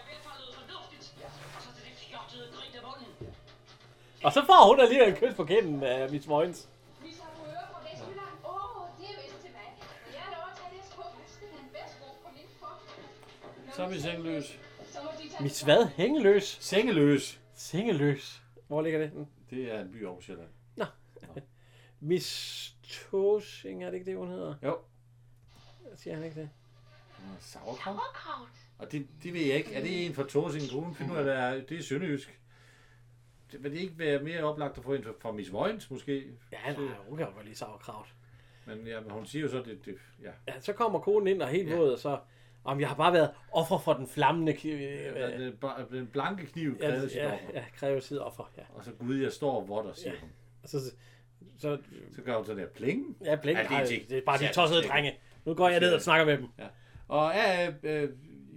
Og så får hun alligevel et kys på kinden af uh, Miss Moins. Vi tager på øre fra Vestjylland. Åh, det er vist til mig. Vil Jeg er lov at tage deres kuffert. Det er en bedst ro på min for. Så er vi sengeløs. Så må de tage... Miss hvad? Hængeløs? Sengeløs. Sengeløs. Hvor ligger det? Det er en by over Sjælland. Miss Tosing, er det ikke det, hun hedder? Jo. Siger han ikke det? Nå, Sauerkraut? Og det, det ved jeg ikke. Er det en fra Torsingen Kommune? Find ud af, hvad det er. det er sønderjysk. Det, vil det ikke være mere oplagt at få en fra- fra Miss Vojens, måske? Ja, nej, hun kan jo godt lige sauerkraut. Men ja, men hun siger jo så, det, det ja. Ja, så kommer konen ind og er helt ja. våd, og så... Om jeg har bare været offer for den flammende... Ki- øh, ja den, ba- den blanke kniv ja, krævede sit ja, offer. ja, kræver tid offer, ja. Og så gud, jeg står og votter, siger hun. Og så, så Så gør hun sådan der pling. Ja, blink. Ja, Ja, det, det er er ikke- det er bare Ja, de tossede det er drenge. Nu går jeg ned og snakker med dem. Og ja, øh, øh,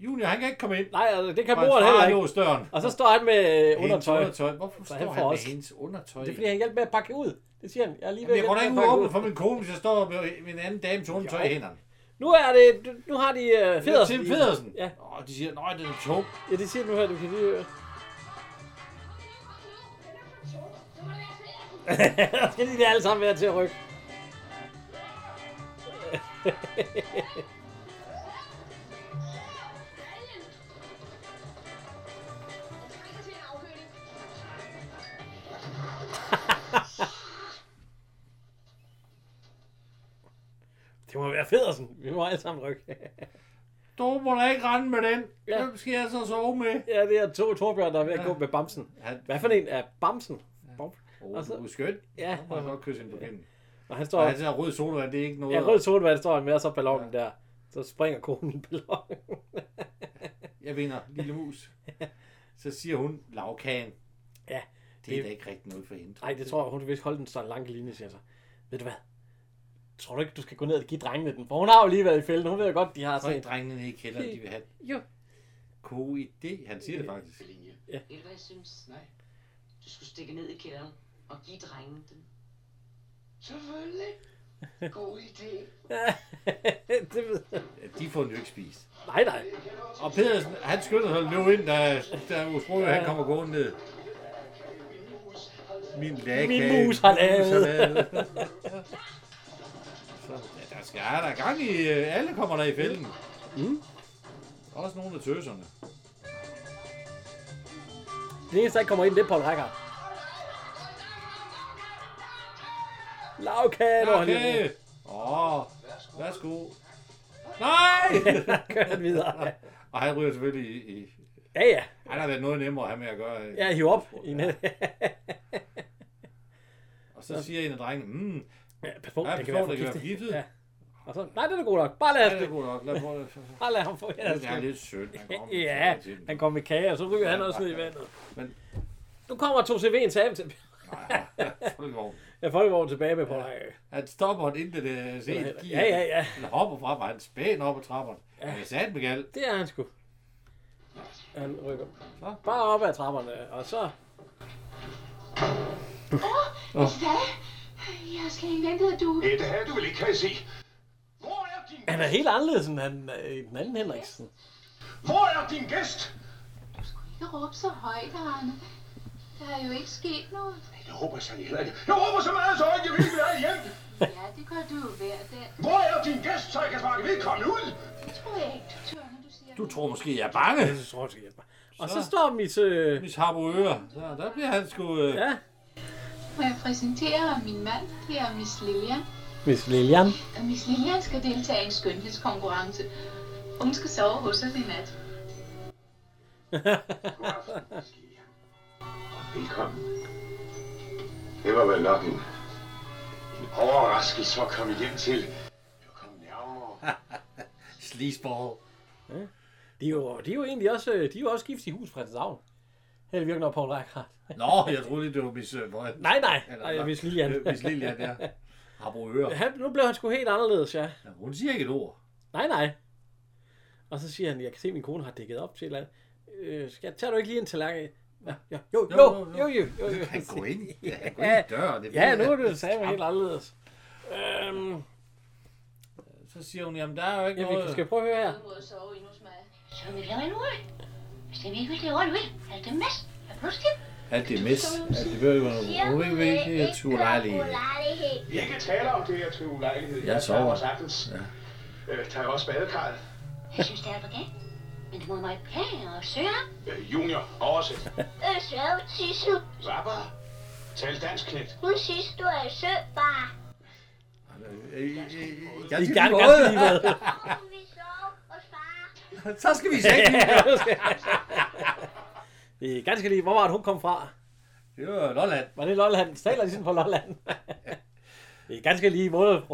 Junior, han kan ikke komme ind. Nej, altså, det kan og hans moren far heller har ikke. låst døren. Og så står han med øh, Hendes undertøj. undertøj. Hvorfor Så han står får han med også- hendes undertøj? Det er fordi, han hjalp med at pakke ud. Det siger han. Jeg er lige ved Jamen, jeg går da at ikke hjælpe ud med at og pakke åbner for min kone, hvis jeg står med med en anden dames undertøj i Jo. hænderne. Nu er det... Nu har de øh, Federsen. Til i- Pedersen. Ja, Og de siger, nej, det er tung. ja, det siger du her. Du kan lige... øh. Så skal de der alle sammen være til at rykke. Det må være Federsen. Vi må alle sammen rykke. Du må da ikke rende med den. Ja. Hvem skal jeg så sove med? ja, det er to Torbjørn, der er ved at Ja. gå med Bamsen. Han, Hvad for en er Bamsen? Bamsen. oh, Og så- du er skøn. Ja, Han må jeg godt kysse ind på kinden. og han står... Og han siger, rød solvand, det er ikke noget. Ja, rød solvand står han med, og så ballonen ja. der. Så springer konen i ballonen. Jeg vinder, lille mus. Så siger hun, lavkagen. Ja, Det er det- da ikke rigtig noget for hende. Nej, det tror jeg, hun vil vist holde den så lang linje, siger jeg så. Ved du hvad? Tror du ikke, du skal gå ned og give drengene den? For hun har jo lige været i fælden. Hun ved jo godt, de har Så er sådan en. drengene nede i kælderen, de vil have den. Jo. God idé. Han siger det faktisk. Ved du, hvad jeg synes? Nej. Du skulle stikke ned i kælderen og give drengen den. Selvfølgelig. God idé. det ved jeg. Ja, de får den jo ikke spist. Nej, nej. Og Pedersen, han skynder sig at løbe ind, da, da Osbro, han kommer gående ned. Mus, hold Min lagkage. Min mus har lavet. Mus har lavet. Så, ja, der skal ja, der er gang i... øh, Alle kommer der i fælden. Mm. Også nogle af tøserne. Den eneste, der ikke kommer ind, det er Paul Rækker. Lavkage, når han lige Okay. Åh, værsgo. Nej! kører han videre. Og han ryger selvfølgelig i... i Ja, ja. han har været noget nemmere at have med at gøre. øh. Ja, hiv op. I net. Og så siger en af drengene, mm, Ja, pas på, Ja, den pas kan på, være den kan være forgiftet. forgiftet. Ja. Og så, nej, den er god nok. Bare lad ja, os det er det. godt nok. Lad få det. Bare lad ham få. Ja, Det er lidt synd. Han kommer ja, til den. han kom med kage, og så ryger han også ned i vandet. Men- Nu kommer 2CV'en til ham til. Nej, folkevogn. Ja, folkevognen tilbage med Paul Rækker. Han stopper den inden det er set. Ja, ja, ja. Han hopper frem, og han spæn op ad trapperne. Ja. Han er sat med galt. Det er han sgu. Han rykker Så. bare op ad trapperne, og så... Hvad? Jeg har slet ikke ventet, at du... Det er det her, du vil ikke kan se. Hvor er din Han er helt anderledes end han, øh, den anden Henriksen. Hvor er din gæst? Ikke råbe så højt, Arne. Der er jo ikke sket noget. Jeg håber sandelig heller ikke. Jeg håber så meget, så ikke jeg vil være hjem. Ja, det gør du jo hver dag. Hvor er din gæst, så jeg kan sparke vedkommende ud? Det tror jeg ikke, du tør, når du siger... Du tror måske, jeg er bange. Det tror jeg, skal hjælpe mig. Og så står mit... Øh, Miss Harboøre. Så der bliver han sgu... Øh, ja, Må jeg præsentere min mand? Det er Miss Lilian. Miss Lilian. Og Miss Lilian skal deltage i en skønhedskonkurrence. Hun skal sove hos os i nat. God aften, Miss Lillian. Og velkommen. Det var vel nok en, en overraskelse at komme hjem til. Du kom nærmere. Sleazeball. De er, jo, de er jo egentlig også, øh, de er jo også gift i hus Frederikshavn. Held virker nok Paul Rækker. Nå, jeg troede lige, det var Miss øh, Vold. Nej, nej, nej, Miss Lilian. Miss Lillian, ja. Harboøre. Han, nu blev han sgu helt anderledes, ja. Ja, hun siger ikke et ord. Nej, nej. Og så siger han, jeg kan se, at min kone har dækket op til et eller andet. Øh, skal, tager du ikke lige en tallerken? Ja, ja, jo, jo, jo, jo, jo, jo, jo. Han går ind. Ja, han går ind i døren. Det Ja, ved nu er jeg. det sagde helt anderledes. Øhm, Så siger hun, jamen der er jo ikke ja, vi noget. skal prøve at høre her. Du må sove endnu hos mig. Så vi laver en uge. Hvis det ikke vil lave en uge, er det mest. Er pludselig. Alt det er mis. Alt det behøver jo noget. Hun vil ikke tur Vi kan tale om det her til ulejlighed. Jeg sover. mig sagtens. Ja. Øh, tager jeg også badekarret. Jeg synes, det er arrogant. Men du må mig pæne og søge ham. Øh, junior, oversæt. Øh, sørg, Sissel. Rapper. Tal dansk, knæt. Hun synes, du er sød, bare. Vi er gerne ganske lige med. Hun vil sove hos far. Så skal vi se. Det er ganske lige. Hvor var det, hun kom fra? Det var Lolland. Var det Lolland? Taler de sådan på Lolland? Det er ganske lige måde.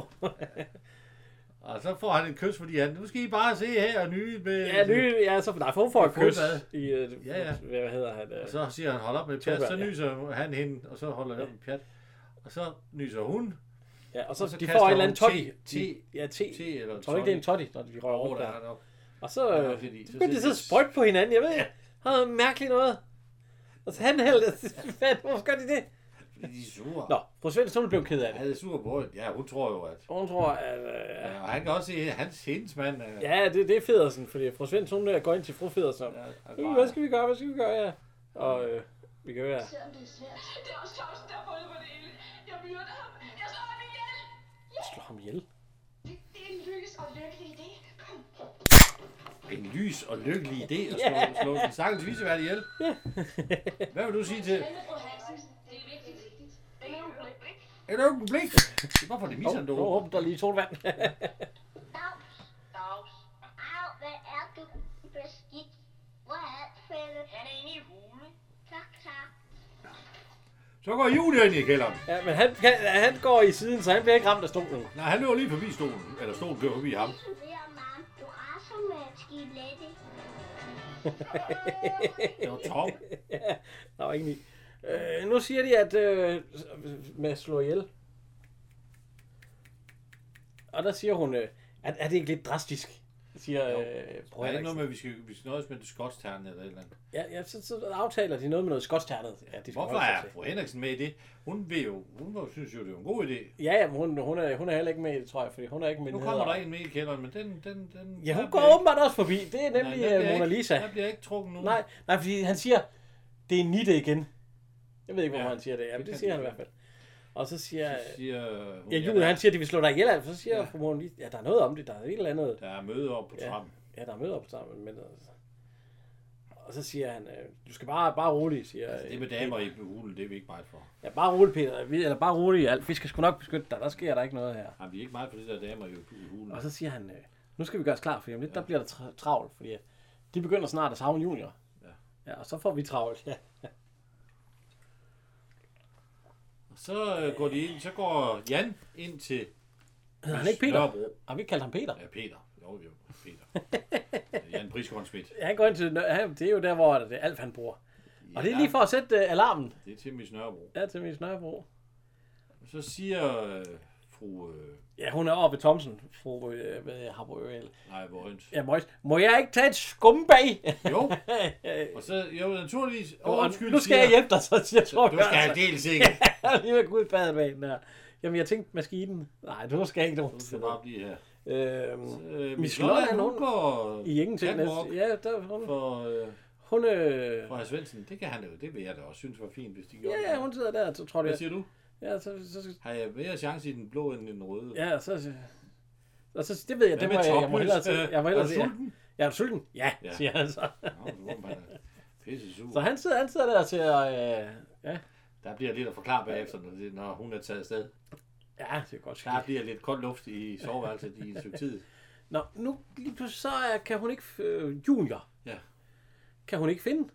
Og så får han et kys, fordi han, nu skal I bare se her og nye med... Ja, ny, ja, så, nej, for hun får et kys Fodbad. i, øh, Ja, ja. hvad hedder han? Øh, Og så siger han, hold op med pjat. børn, Så ja. nyser han hende, og så holder han op med pjat. Og så nyser hun. ja, og så, og så de kaster får en eller anden hun totti. te- te- ja, te. Te eller Jeg tror du ikke, det er en totti, når de rører Over rundt der er der. nok. Og så, øh, Ja, så fordi- så begyndte de sidder så de- at sprøjte på hinanden, jeg ved ikke. Har noget mærkeligt noget. Og så han hældte, fat, hvorfor gør de det? De er sure. Nå, fru Svendsen, hun blev ked af det. Han er sur på hende. Ja, hun tror jo, at... Hun tror, at... Øh, Ja, og han kan også se, at hans hendes mand... er- Ja, det, det er Federsen, fordi fru Svendsen, hun der går ind til fru Federsen. er- Ja, er øh, bare- hvad skal vi gøre, hvad skal vi gøre, ja. Og øh, vi kan høre, Selvom det er svært. Det er også Thomsen, der har fundet på det hele. Jeg myrder ham. Jeg slår ham ihjel. slå ham ihjel. Det er en lys og lykkelig idé. Kom. En lys og lykkelig idé at slå, yeah. slå den stakkels viseværd ihjel. Hvad vil du sige til? Fru Hansen, det er vigtigt. Det er jo blik. Et øjeblik. Hvorfor er det miseren, du Nu råber? åbner der lige solvand. Dags. Dags. Au, hvad er du beskidt? Hvor er fælde? Han er inde i hulen. Tak, tak. Så går Julia ind i kælderen. ja, men han, kan, han går i siden, så han bliver ikke ramt af stolen. Nej, han løber lige forbi stolen. Eller stolen kører forbi ham. Du ved, mam, du raser med et skilette. Det var Tom. Der var ingen i. Øh, nu siger de, at øh, med at slå ihjel. Og der siger hun, øh, at er det ikke lidt drastisk? Siger øh, Der Bror er ikke noget Henriksen. med, at vi skal, vi skal nøjes med det skotsterne eller et eller andet. Ja, ja så, så, aftaler de noget med noget skotsternet. Ja, de skal Hvorfor holde sig er til. fru Henriksen med i det? Hun, vil jo, hun var- synes jo, det er en god idé. Ja, ja, men hun, hun, er, hun er heller ikke med i det, tror jeg, fordi hun er ikke med Nu kommer der en med i kælderen, men den... den, den Ja, hun der går bliver åbenbart også forbi. Det er ikke- nemlig Nej, Nej, der bliver Mona ikke- Lisa. Der bliver ikke trukket nogen. Nej, nej, fordi han siger, det er Nitte igen. Jeg ved ikke, hvorfor Ja. ja. han siger det. Ja, men Det det kan siger han i det hvert fald. Og så siger... øh, Så siger hun, Ja, Julie, han siger, at de vil slå dig ihjel, altså. så siger Ja. ja. fru Moren lige, ja, der er noget om det, der er et eller andet, der er møde op på Ja. trappen. ja, der er møder på sammen, men altså. Og så siger han, øh, du skal bare, bare rolig, siger Altså, det med damer i hulen, det er vi ikke meget for. Ja, bare rolig, Peter, Vi- eller bare rolig, alt. vi skal sgu nok beskytte dig, der sker der ikke noget her. Jamen, vi er ikke meget for det der damer i i hulen. Og så siger han, øh, nu skal vi gøre os klar, for om lidt, der bliver der tra- travlt, fordi at de begynder snart at savne junior. Ja. Ja, og så får vi travlt. Ja. Så øh, går de ind, så går Jan ind til Hedder han ikke Peter? Nørrebro. Har vi ikke kaldt ham Peter? Ja, Peter. Jo, jo, Peter. Øh, Jan Prisgaard Schmidt. Han går ind til, Nør- han- det er jo der, hvor det er Alf, han bor. Og det er lige for at sætte øh, alarmen. Det er til Miss Nørrebro. Ja, til min snørbro. Så siger øh, fru... Øh, Ja, hun er oppe ved Thomsen, fru øh, hvad hedder, Harbo Øl. nej, Vojens. Ja, Møjs. Må jeg ikke tage et skumbag? Jo, og så... Jo, naturligvis. Og Åh, undskyld, nu skal jeg hjælpe dig, så siger Tror Du skal have dels ikke. Jeg er lige ved at gå ud i badet med hende der. Jamen, jeg tænkte maskinen. Nej, du skal ikke nogen Du sted. skal bare blive her. Øhm, Øh, Miss Miss Lolland, Lolland, hun hun- går... I ingenting catwalk næste. Ja, der, hun, For, øh, hun, øh, for herr Svendsen, det kan han jo. Det vil jeg da også synes var fint, hvis de gjorde ja, ja, hun sidder der, så tror Hvad jeg. siger du? Ja, så, så, så Har jeg mere chance i den blå end i den røde? ja, så, så og så, det ved jeg, Hvad det med må jeg, jeg må topløs? hellere se. Øh, Jeg må er hellere du se. ja. sulten? Jeg er du sulten? Ja, Ja. siger han så. Nå, du var bare pisse sur. Så han sidder, han sidder der til at, øh, ja, Der bliver lidt at forklare bagefter, når, det, når hun er taget afsted. ja, det er godt ske. Der bliver lidt kold luft i soveværelset i en stykke tid. Nå, nu lige pludselig så er- kan hun ikke... Øh, junior. Ja. Kan hun ikke finde.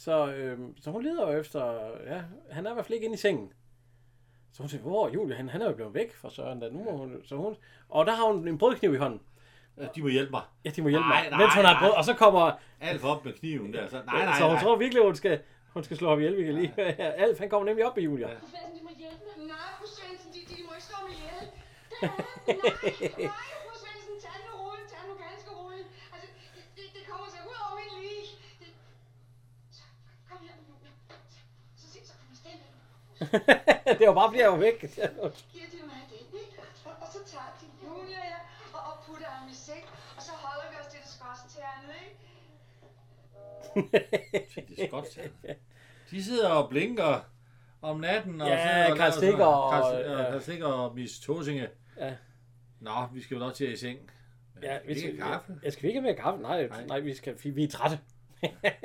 Så, øh, så hun leder jo efter... Ja, han er i hvert fald ikke inde i sengen. Så hun siger, hvor er Julia? Han, han er jo blevet væk fra Søren. Da. Nu må hun, så hun, og der har hun en brødkniv i hånden. Øh, De må hjælpe mig. Ja, de må hjælpe Nej, mig. nej, mens hun har nej. brød, og så kommer... Alt for op med kniven der. Så, nej, nej, så hun nej. tror virkelig, hun skal, hun skal slå ham ihjel. Vi kan lige. Ja. Alf, han kommer nemlig op med Julia. Ja. Svendsen, de må hjælpe mig. Nej, fru Svendsen, de, de må ikke slå mig ihjel. Det er- Nej, nej, fru Svendsen, tag nu roligt, tag nu ganske roligt. Altså, det, det, det kommer sig ud over min lige. Det... Så, kom her, Julia. Så, så, så, så kom afsted med den. det var bare, fordi jeg var væk. Giver de mig den, ikke? Og, og så tager de Julia, ja, og, og putter ham i sæk. Og så holder vi os til det skotstjernet, ikke? Det er skotsk. De sidder og blinker om natten. Og Ja, sidder og Karl laver sådan Stikker noget. Karl- og- ja, ja. Karl Stikker og Miss Tosinge. Ja. Nå, vi skal jo nok til at i seng. Ja, vi Ikke skal, kaffe? Jeg, skal vi ikke have mere kaffe? Nej, Nej. nej. nej vi, skal, vi, vi er trætte.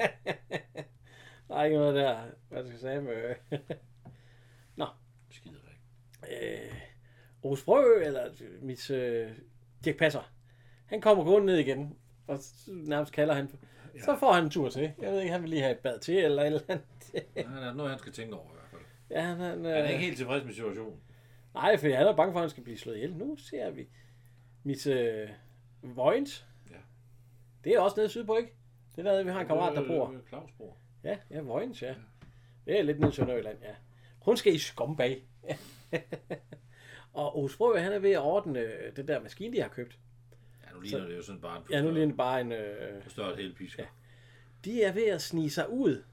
der er ikke noget der, hvad skal jeg sige med... Skider ikke. øh, Ove Sprø, eller mit øh, Dirk Passer, han kommer gående ned igen, og s- nærmest kalder han. Så får han en tur til. Jeg ved ikke, han vil lige have et bad til, eller et eller andet. Nej, der er noget, han skal tænke over i hvert fald. ja, han, han, Han er øh, ikke helt tilfreds med situationen. nej, for han er bange for, at han skal blive slået ihjel. Nu ser vi mit øh, Vojens. Ja. Ja. Det er også nede sydpå, ikke? Det er der, vi har en kammerat, der bor. Øh, Claus bor. Ja, ja, Vojens, ja. Det er lidt nede i Sønderjylland, ja. Hun skal i skumbag. og Osbro, han er ved at ordne øh, den der maskine, de har købt. Ja, nu ligner det jo sådan bare en Ja, nu lige en- bare en... Øh, forstørret elpisker. Ja. de er ved at snige sig ud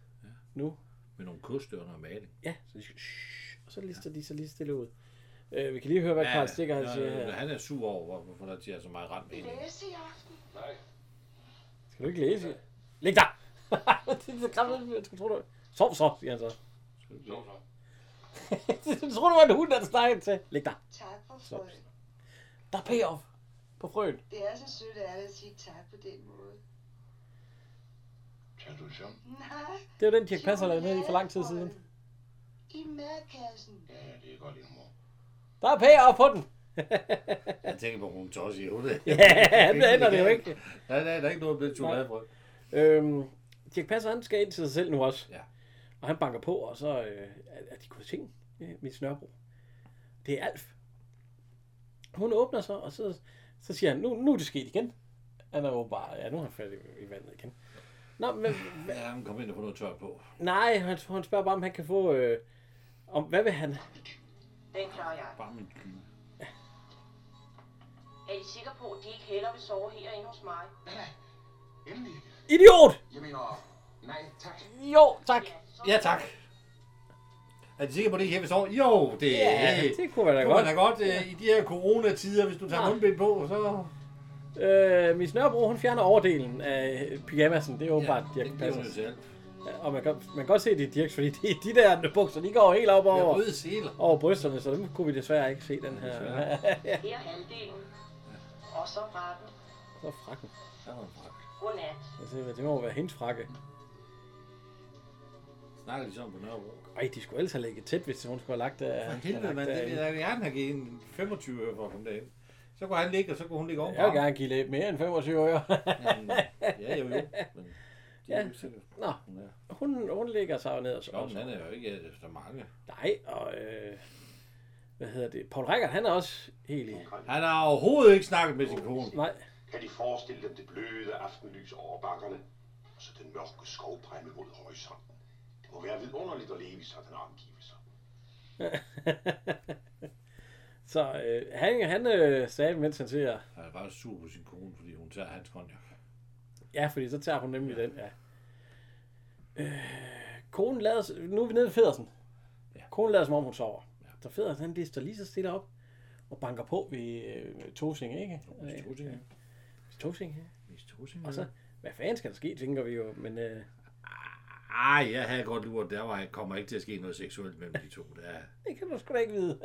nu. Med nogle koste under maling. Ja, så de skal... Shh, og så lister de sig lige stille ud. Øh, vi kan lige høre, hvad Karl Stikker han ja, siger ja, her. Han er sur over, hvor- hvorfor der er så meget rand med hende. Læse i aften. Nej, Skal du ikke læse? Læg dig! det er så kramt, jeg tror du... Sov så, siger han så. så så. Jeg tror, det var en hund, der snakkede til. Læg dig. Tak for frøen. Der er payoff på frøen. Det er så sødt af dig at sige tak på den måde. Tag du i søvn. Nej. Det er jo den, Dirk Passer lavede ned i for lang tid chokoladefrøen. siden. I madkassen. Ja, ja, det er godt, lille mor. Der er payoff på den. Jeg tænker på, at hun tås i hovedet. ja, han ændrer det jo ikke. Nej, nej, der er ikke noget at blive chokolade for. Øhm, Dirk Passer, han skal ind til sig selv nu også. Ja. Og han banker på, og så øh, er- er de gået i seng øh, min snørbro. Det er Alf. Hun åbner sig, og så, så siger han, nu, nu er det sket igen. Han er jo bare, ja, nu har han fat i, i vandet igen. Nå, men, hva- Ja, hun kom ind og få noget tørt på. nej, han, han spørger bare, om han kan få, øh, om, hvad vil han? Den klarer jeg. Bare min dyne. Er I sikre på, at de ikke hellere vil sove herinde hos mig? Nej, nej. Endelig. Idiot! Jeg mener, nej, tak. Jo, tak. så... Ja, tak. Er du sikker på, at det ikke er hjemme sover? Jo, det, Ja, det kunne være da kunne man da godt. godt øh, i de her coronatider, hvis du tager Ja. mundbind på, så... Øh, min snørbro, hun fjerner overdelen af pyjamasen. Det er åbenbart, ja, det, Dirk det er jo Passer. selv. Ja, og man kan, man kan godt se, at det er Dirks, fordi de, de der bukser, de går helt op Jeg over, røde seler. over brysterne, så dem kunne vi desværre ikke se den her. Her er halvdelen. Og så retten. så frakken. Der var en frak. Godnat. Altså, det må jo være hendes frakke. Snakker de sådan på Nørrebro? Ej, de skulle ellers have ligget tæt, hvis hun skulle have lagt øh, der. For helvede, mand. Det vil jeg gerne have givet en 25 øre for at komme derind. Så kunne han ligge, og så kunne hun ligge ovenpå. Jeg vil gerne give lidt mere end 25 øre. Jamen, Ja, jo, jo. Men det er Ja. jo sikkert. Nå, Ja. hun, hun ligger sig jo ned og så. Nå, men han er jo ikke øh, så mange. Nej, og øh, hvad hedder det? Paul Reichert, han er også helt i. Han har overhovedet ikke snakket med sin kone. Nej, Kan de forestille dem det bløde aftenlys over bakkerne, og så den mørke skovbrænde mod horisonten. Det må være vidunderligt at leve i sådan omgivelser. så øh, han, han øh, sagde, mens han siger, Han er bare sur på sin kone, fordi hun tager hans konjak. ja, fordi så tager hun nemlig den, ja. Øh, konen lader, nu er vi nede ved Federsen. Ja. Konen lader, som om hun sover. Så Federsen, han lister lige så stille op og banker på ved øh, Tosing, ikke? Miss Tosinger. Tosing, ja. Miss Tosinger. Og så, hvad fanden skal der ske, tænker vi jo, men øh, Ej, jeg havde godt luret, der var, kommer ikke til at ske noget seksuelt mellem de to. Der. det kan du sgu da ikke vide.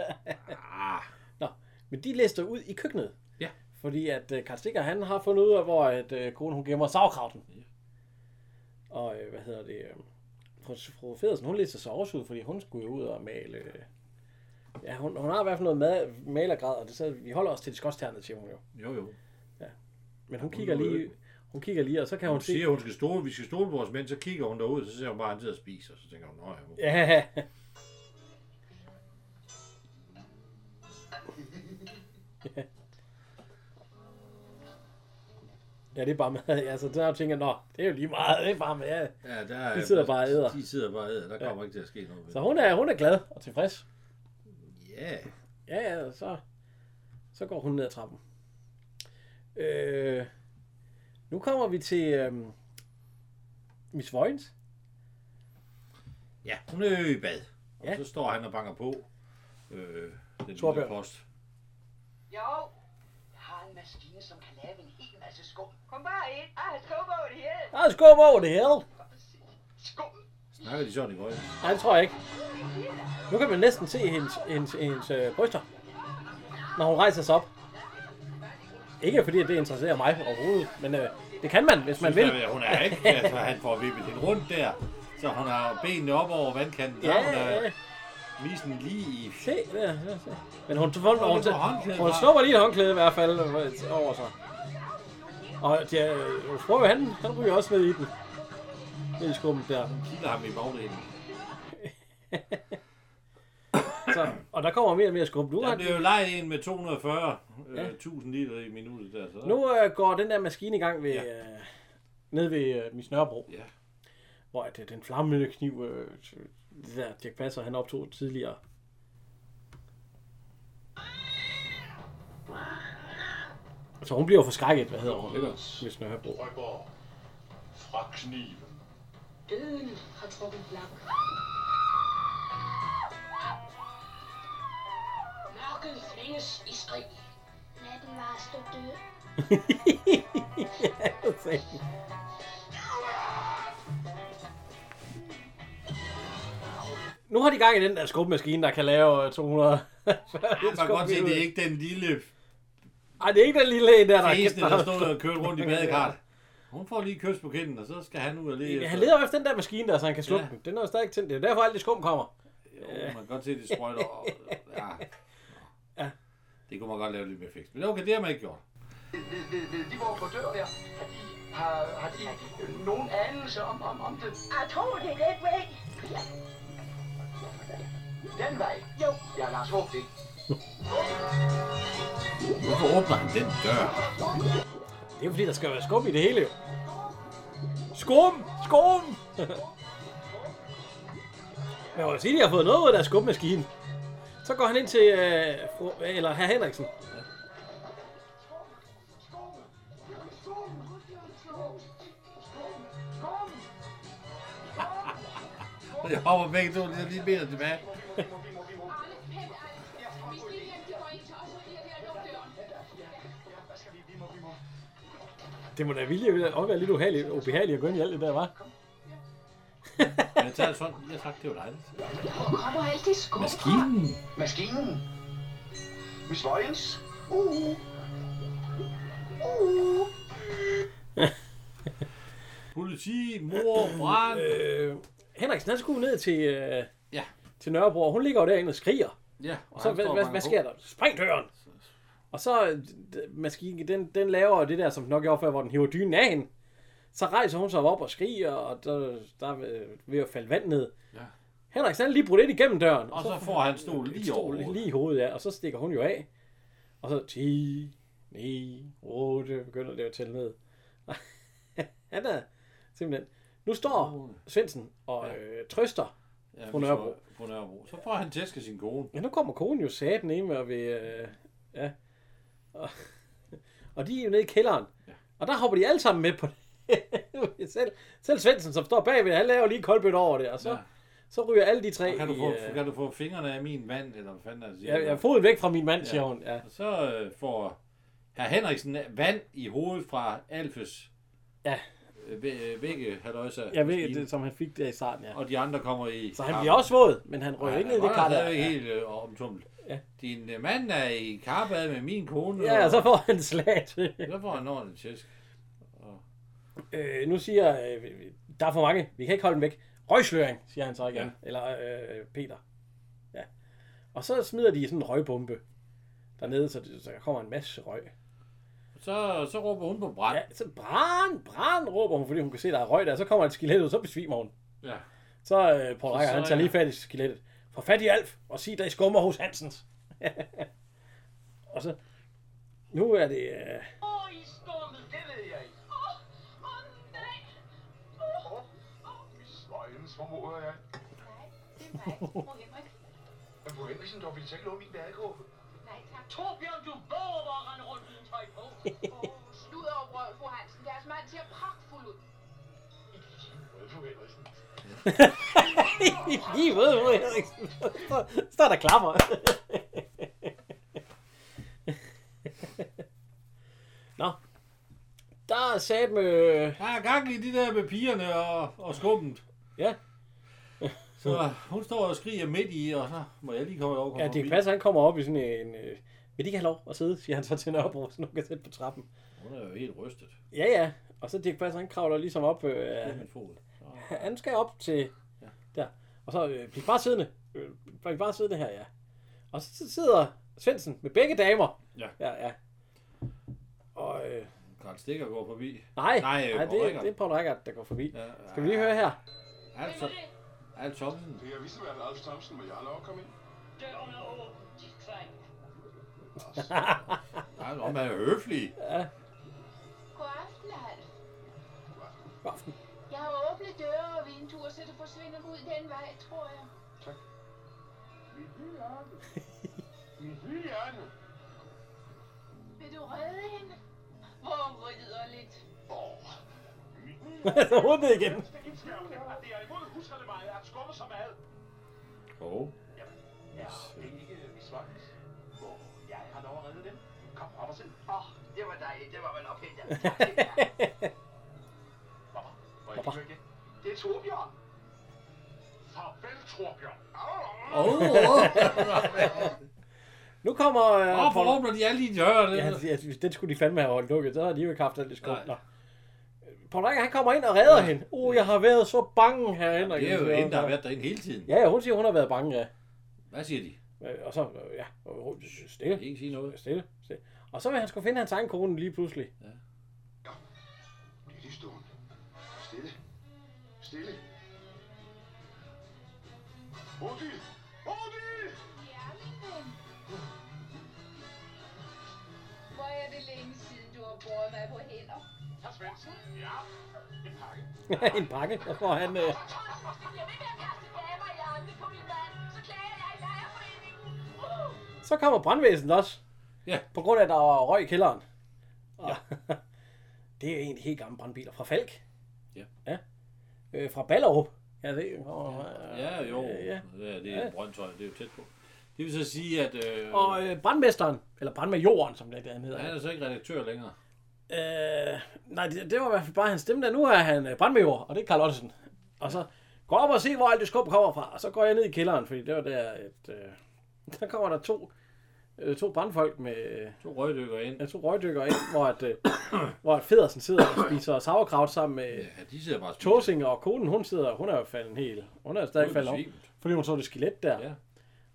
Ah, Nå, men de lister ud i køkkenet. Ja. Fordi at uh, Karl Stikker, han har fundet ud af, hvor at, uh, konen hun gemmer sauerkrauten. Ja. Og uh, hvad hedder det? øh, Fru, fru Federsen, hun lister sig også ud, fordi hun skulle jo ud og male... øh, ja, hun, hun har i hvert fald noget mad, malergrad, og det, så, vi holder os til de skotsternede, siger hun jo. jo jo. Men hun kigger lige... Hun kigger lige, og så kan hun, Hun hun se... siger, hun skal stole, vi skal stole på vores mænd, så kigger hun derud, så ser hun bare, at han sidder og spiser, og så tænker hun, nej, ja. Ja, Ja, det er bare mad. Altså, der tænker jeg, nå, det er jo lige meget, det er bare mad. ja der, er- De sidder bare og æder. De sidder bare og æder, der kommer ikke til at ske noget. ved Så det. hun er, hun er glad og tilfreds. Ja, Ja, ja, så, så går hun ned ad trappen. Øh, nu kommer vi til øhm, Miss Vojens. ja, hun er jo i bad. Og Ja. så står han og banker på øh, den lille Torbjørn. post. Jo. Jeg har en maskine, som kan lave en hel masse skum. Kom bare ind. Ej, han skubber over det hele. Der er skub over det hele. Skum! Snakker de sådan i højden? Nej, det tror jeg ikke. Nu kan man næsten se hendes, hendes, hendes øh, bryster, når hun rejser sig op. Ikke fordi at det interesserer mig overhovedet, men øh, det kan man, hvis man vil. Ja, hun er ikke, altså han får vippet hende rundt der. Så hun har benene op over vandkanten. Ja, Ja, hun ja, er ja. visen lige i... se der. der, se. Men hun, hun, hun, lige på hun, håndklædet, hun hva'? snupper lige et håndklæde i hvert fald øh, over sig. Og ja, øh, prøver han, han ryger også ned i den. Ned i skummet der. Kilder ham i bagdelen. Så, og der kommer mere og mere skum. Nu, Der har- blev jo lejet en med 240.000 øh, 1000 liter i minuttet der. Så. nu øh, går den der maskine i gang ved, øh, ned ved øh, Miss Nørrebro. Ja. hvor at, øh, den flammende kniv, øh, det der Dirk Passer, han optog tidligere. Så hun bliver jo forskrækket, hvad hedder hun? Miss Nørrebro. Røber fra kniven. Døden har trukket blank. Mørket flænges i skrig. Natten var at stå død. ja, det sagde hun. nu har de gang i den der skubmaskine, der kan lave øh, 200. Man kan godt se, det er ikke den lille Ej, det er ikke den lille en der, der, fæsende, der stod og kørte rundt i der- badekart. Hun får lige kys på kinden, og så skal han ud og lede. Ja, efter- han leder jo efter den der maskine der, så han kan slukke Ja. ja. den. Den er jo stadig tændt. Det er derfor alt det skum kommer. Jo, man kan godt se, det sprøjter. og- Ja. Ja. Det kunne man godt lave lidt mere fikst. Men okay, det har man ikke gjort. Ved, ved, ved de, hvor på dør der, har de, har, har de øh, nogen anelse om, om, om det? Jeg tror, det er den vej. Den vej? Jo. Jeg har smukt det. Hvorfor åbner han den dør? Det er fordi, der skal være skum i det hele jo. Skum! Skum! Men jeg må sige, at de har fået noget ud af deres skummaskine. Så går han ind til øh, fru, eller herr Henriksen. Og jeg hopper begge to lige- lige mere tilbage. Arne, hent Arne. Vi skal lige hjem, de går ind til os, og de er ved at lukke døren. Hvad skal vi? Vi må, vi må. øh, Det må da vilje også være lidt ubehageligt, ubehageligt at gå ind i alt det der, var. Men jeg tager sådan, ja tak, det var dejligt. Hvor kommer alt det skub Maskinen. Maskinen. Miss Vojens. Politi, mor, brand. Øh, Henriksen, han skulle ned til, øh, Ja. til Nørrebro, og hun ligger jo derinde og skriger. Ja, Og så, hvad, hvad, hvad sker der? Spring døren! Og så, øh, d- maskinen, den, den laver jo det der, som den nok gjorde før, hvor den hiver dynen af hende. Så rejser hun sig op og skriger, og der, der er ved- ved at falde vand ned. Ja. Henriksen, han er lige brudt ind igennem døren. Og så får han stol lige over lige, hovedet. lige i hovedet, ja. Og så stikker hun jo af. Og så 10, 9, 8, begynder det at tælle ned. Han er simpelthen... Nu står Svendsen og øh, trøster. Ja, På vi Nørrebro. står På Nørrebro. Så får han tæske sin kone. Ja, nu kommer konen jo saten ind og ved... Øh, ja. Og, og de er jo nede i kælderen. Ja. Og der hopper de alle sammen med på det. selv, selv Svendsen, som står bagved, han laver lige koldbødt over det. Og så, ja. Ja. så ryger alle de tre... Og kan, du i, få, øh, kan du få fingrene af min vand, eller hvad fanden er det, siger? Ja, han? ja, foden væk fra min mand, ja. siger Ja. hun. Ja. Og så øh, får herr Henriksen vand i hovedet fra Alfes Ja. øh, væ- øh, vægge, halløjsa. Jeg ved, det, som han fik der i starten, ja. Og de andre kommer i... Så han bliver også våd, men han rører ikke ned i det kar der. der. er ikke helt øh, omtumlet. Ja. Din øh, mand er i karbad med min kone. Ja, og og så får han slat. Så får han ordentligt tæsk. øh, nu siger, øh, der er for mange, vi kan ikke holde dem væk. Røgsløring, siger han så igen. Ja. Ja. Eller øh, Peter. Ja. Og så smider de sådan en røgbombe dernede, så, så der kommer en masse røg. Så, så råber hun på brand. Ja, så brand, brand, råber hun, fordi hun kan se, der er røg der. Så kommer et skelet ud, så besvimer hun. Ja. Så øh, Paul Så- Reicher, han så, tager ja. lige fat i skelettet. Få fat i Alf, og sig, der I skummer hos Hansens. og så, nu er det... Øh, Hvor i skummet, det ved jeg ikke. Åh, Miss Vojens, hvor mor er jeg? Nej, det er mig, fru Henrik. Men på Henriksen, du ville selv låne min badekåbe. Nej, tak. Torbjørn, du våger bare at rende rundt uden tøj på. Sludder og brøl, fru Hansen. Deres mand ser pragtfuld ud. Hvad fru Henriksen? I ved, hvor Henriksen. Så- Så er der klapper. Nå. Der er sat med... Der er gang i de der med pigerne og, og skummet. Ja. Så hun står og skriger midt i, og så må jeg lige komme over. og Ja, komme det forbi. passer, han kommer op i sådan en... Øh, vil de ikke have lov at sidde, siger han så til Nørrebro, så nu kan sætte på trappen. Hun er jo helt rystet. Ja, ja. Og så Dirk Passer, han kravler ligesom op. Ja. Øh, Min fod. Så, han skal op til... Der. Og så øh, bliv bare siddende. Øh, bliv bare siddende her, ja. Og så sidder Svendsen med begge damer. Ja. Ja, ja. Og... Øh, Karl Stikker går forbi. Nej, nej, Nej, øh, nej Poul det, Reichhardt. det er Paul Reichert, der går forbi. Ja. Ja, Skal vi lige høre her? Alf, Alf Thomsen. Det er vist, at Alf Thomsen, men jeg har lov at komme ind. Døren er åben, dit kvæg. Alf, om han er høflig. God aften, Alf. God aften. Jeg har åbnet døre og vinduer, så det forsvinder ud den vej, tror jeg. Min hyerne. Min hyerne. Vil du redde hende? Hvor hun rider lidt. Åh, min så hun ned igen. Det er indskærvende, at det er imod huserne meget at skumme sig mad. Oh. Ja, det er ikke Miss Vojens. Hvor jeg har lov at redde dem. Kom op og sid. Åh, det var dejligt. Det var vel ophængt. Ja. Tak skal I have. Hvorfor? Må jeg Hvorfor? lige høre igen? Det er Torbjørn. Farvel, Torbjørn. Au. Oh, Nu kommer... Øh, Hvorfor Poul- åbner de alle de døre? Ja, Det, jeg synes, den skulle de fandme have holdt lukket. Så havde de jo ikke haft alt det skub. Nej. Nå. Paul Reichert, han kommer ind og redder ja. hende. Uh, jeg har været så bange her, Henrik. det er jo siger hende, der har hun så. været derinde hele tiden. Ja, ja, hun siger, hun har været bange, ja. Hvad siger de? Øh, Og så, øh, ja, og hun- Jeg kan stille, ikke sige noget. stille, stille. Og så vil han skulle finde hans egen kone lige pludselig. Bliv lige stående. Stille. Stille. Odil! Odil! Ja, min ven. Hvor er det længe siden, du har båret mig på hænder. Herr Svendsen? Ja? En pakke? en pakke, og får han... Øh, så kommer brandvæsenet også. Ja. På grund af, at der var røg i kælderen. Og, ja. det er egentlig helt gamle brandbiler fra Falk. Ja. ja. Øh, fra Ballerup. Ja, det oh, Ja, jo. Ja. Ja, det er Brøndshøj, det er jo tæt på. Det vil så sige, at øh, Og øh, brandmesteren, eller brandmajoren, som det der hedder. han Ja. er så ikke redaktør længere. Øh, nej, det, det, var i hvert fald bare hans stemme der. Nu er han øh, brandmajor, og det er Karl Ottesen. Og så, Gå op og se, hvor alt det skub kommer fra. Og så går jeg ned i kælderen, fordi det var der, at øh, der kommer der to, øh, to brandfolk med øh, To røgdykker ind. ja, to røgdykkere ind, hvor, at, øh, hvor at Federsen sidder og spiser sauerkraut sammen med Ja, de sidder bare og spiser. Tåsinger, og konen, hun sidder, hun er jo faldet helt. Hun er stadig Hun er faldet om, besvimet. fordi hun så det skelet der. Ja.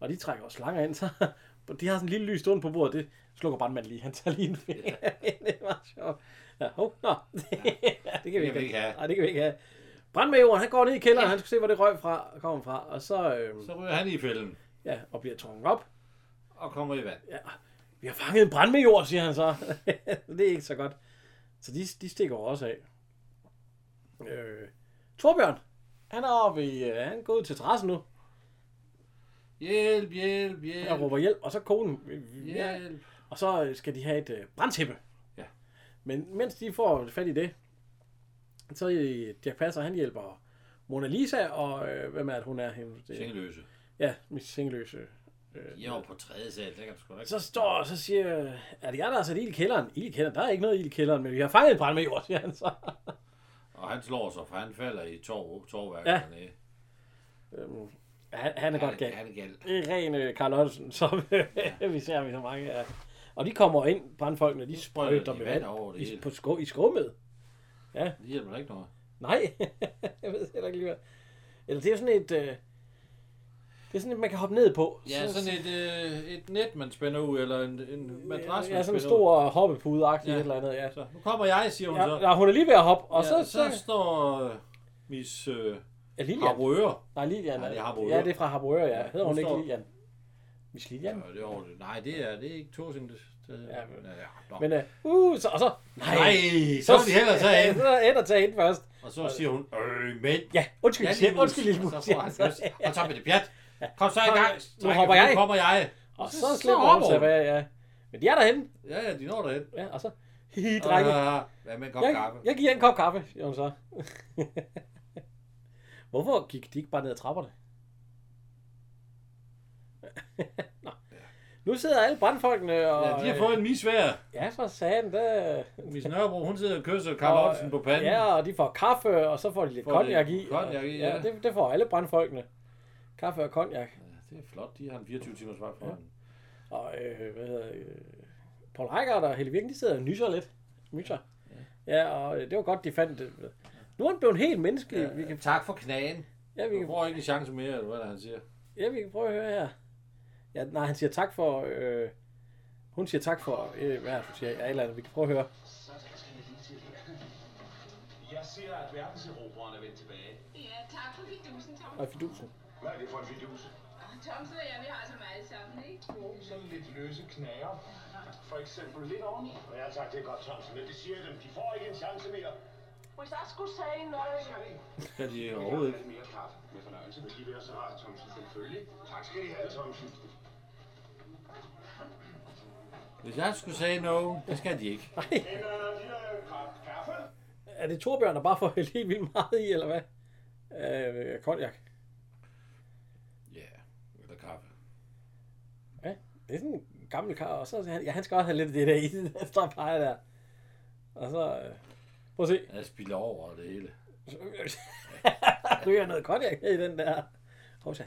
Og de trækker også slanger ind, så de har sådan en lille lys stående på bordet, det slukker brandmanden lige. Han tager lige en finger. det er meget sjovt. Ja, hov, nå. det kan vi ikke have. Nej, det kan vi ikke have. Brandmajoren, han går ned i kælderen, han skal se, hvor det røg fra, kommer fra, og så, øhm, Så ryger han i fælden ja, og bliver trukket op. og kommer i vand. Vi har fanget en brandmajor, siger han så. det er ikke så godt. Så de, de stikker jo også af. Øh, Torbjørn, han er oppe i, øh, han er gået til terrassen nu. Hjælp, hjælp, Jeg hjælp. råber hjælp, og så konen. "Vi- vi er- Hjælp. Og så øh, skal de have et øh, brandtæppe. Ja. Men mens de får fat i det, så øh, Jack Passer, han hjælper Mona Lisa, og øh, hvem er det, hun er? Hende, det, Sengeløse. Ja, min singeløse. Jeg er jo på tredje sal, der kan du sgu da ikke. Så står og så siger, øh, er det jer, der har sat ild i kælderen? Ild i kælderen? Der er ikke noget ild i kælderen, men vi har fanget en brandmajor, siger han så. Og han slår sig, for han falder i torv, torvværket Ja. ja. dernede. Øhm, han, han er godt gal. Han er gal. Det er ren øh, Carl Ottesen, som øh, vi ser, vi så mange af. Og de kommer ind, brandfolkene, de sprøjter sprøjter de med vand vand over det i, hele. på skum, i skummet. Det hjælper da ikke noget. Nej, jeg ved heller ikke lige hvad. Eller det er jo sådan et... Øh, det er sådan et, man kan hoppe ned på. Ja, sådan et, øh, et net, man spænder ud, eller en, en madras, man Ja, sådan en spænder ud. stor hoppepude ja. et Ja. eller andet, ja. Så, nu kommer jeg, siger hun Ja, så. ja, hun er lige ved at hoppe, og Og ja, så, så, så så, står øh, Miss øh, ja, Lilian. Harrøer. Nej, Lilian. Nej, det er Harboøre. ja, det er fra Harboøre, ja. Hedder hun hun ikke står- Lilian? Miss Lilian? Ja, det er over det. Nej, det er, det er ikke Torsing. Det, det, Ja, ja, men- men, ja, nå. Men, øh, uh, så, og så... Nej, Nej, så vil de hellere tage ja, ind. Så er der tage ind først. Og så siger hun, øh, men... Ja, undskyld, Ja, ja, lille mus. undskyld, lille mus. Og så siger får han han så. kys. Og så med det pjat. Kom så i Kom, gang. nu Strække, hopper jeg. Nu kommer jeg. Og så, så slipper hun hopper sig hun. bag, ja. Men de er derhenne, Ja, ja, de når derhen. ja, og så... Hihi, drenge. Øh, Hvad med en kop kaffe? Jeg, jeg giver en kop kaffe, siger hun så. Hvorfor gik de ikke bare ned ad trapperne? Nå. Nu sidder alle brandfolkene og... Ja, de har fået en misvær. Ja, for satan, det... Miss Nørrebro, hun sidder og kysser Karl Ottesen på panden. Ja, og de får kaffe, og så får de lidt Får lidt konjak i. cognac og- i, ja. ja. det, det får alle brandfolkene. Kaffe og konjak. Det er flot, de har en 24 timers vagt for hende. Og øh, hvad hedder øh, Paul Heikert og Helle Virkning, de sidder og nyser lidt. Nyser. Ja, og øh, det var godt, de fandt det. Nu er han blevet helt menneskelig. Ja, vi kan, Tak for knagen. ja, vi Du kan får ikke en chance mere, eller hvad der, han siger. Ja, vi kan prøve at høre her. Ja, nej, han siger tak for... Øh, hun siger tak for... Øh, hvad er det, hun siger? Ja, et eller andet. Vi kan prøve at høre. Sådan skal det lige til. Jeg siger, at verdenserobreren er vendt tilbage. Ja, tak for fidusen, Tom. Nej, fidusen. Hvad er det for en fidus? Thomsen og jeg, vi har så meget sammen, ikke? Nogle sådan lidt løse knager. For eksempel lidt oveni. Ja tak, det er godt, Thomsen, men det siger jeg dem. De får ikke en chance mere. Hvis jeg skulle sige noget... Kan de overhovedet ikke. mere kaffe med fornøjelse. Men de vil så rart, Thomsen, selvfølgelig. Tak skal I have, Thomsen. Hvis jeg skulle sige no, det skal de ikke. Eller de der kaffe. øh, kaffe. Er det Torbjørn, der bare får hældt helt vildt meget i, eller hvad? Øh, konjak. Ja, yeah. eller kaffe. Ja, det er sådan en gammel kar. Og så, ja, han skal også have lidt af det der i den der står og peger der. Og så... Øh, prøv at se. Jeg spiller over det hele. Ryger noget konjak i den der. Rosa.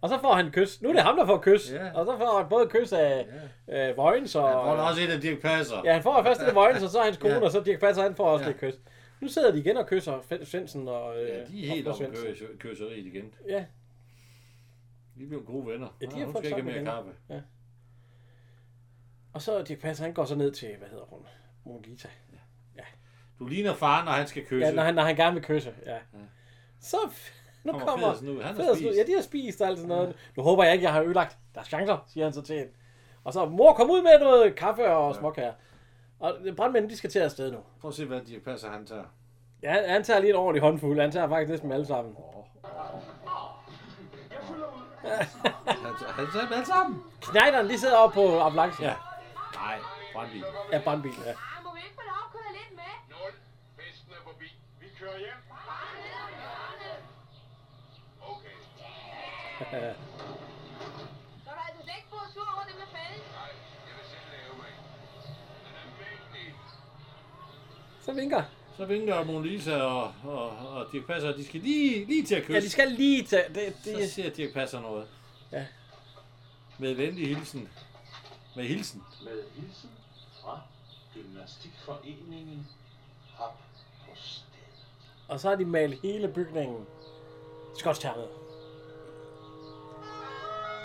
og så får han et kys. Nu er det ham, der får et kys. Ja. Og så får han både et kys af øh, Vojens og... Han får da også et af Dirk Passer. Ja, han får først det Vojens, og så hans kone, Ja. og så Dirk Passer, han får også Ja. lidt kys. Nu sidder de igen og kysser F- Svendsen og... Øh, Ja, de er helt og om Svendsen. kø- køseriet igen. Ja, Vi bliver gode venner. Ja, de har hun fået skal ikke sammen have mere igen. kaffe. og så Dirk Passer, han går så ned til, hvad hedder hun? Monita. Du ligner faren, når han skal kysse. Ja, når han, når han gerne vil kysse, ja. Så f- nu Kommer kommer... Feddersen ud. Han har Feddersen ud. spist. Ja, de har spist og alt sådan noget. Nu håber jeg ikke, jeg har ødelagt deres chancer, siger han så til hende. Og så, mor, kom ud med noget kaffe og småkager. Og brandmændene, de skal til afsted nu. Prøv at se, hvad Dirk Passer han tager. Ja, han- han tager lige en ordentlig håndfuld. Han tager faktisk næsten dem alle sammen. Jeg fylder ud. Han tager, han tager dem alle sammen. Knejderen, de sidder oppe på ambulancen. Ja. Ja. Nej, brændvin. Ja, brandbil, ja. Ah, må vi ikke få lov at køre lidt med? Nul. Festen er forbi. Vi kører hjem. Okay. Så er der altså slet ikke på sur over det med fælden. Nej, jeg vil selv lave mig. Den er mægtig. Så vinker. Så Så vinker Mona Lisa og, og, og Dirk Passer, og de skal lige, lige til at kysse. Ja, de skal lige tage... Det, Så det, siger Dirk Passer noget. Ja. Med venlig hilsen. Med hilsen. Med hilsen fra Gymnastikforeningen Hop på Sted. og så har de malet hele bygningen skotsternet.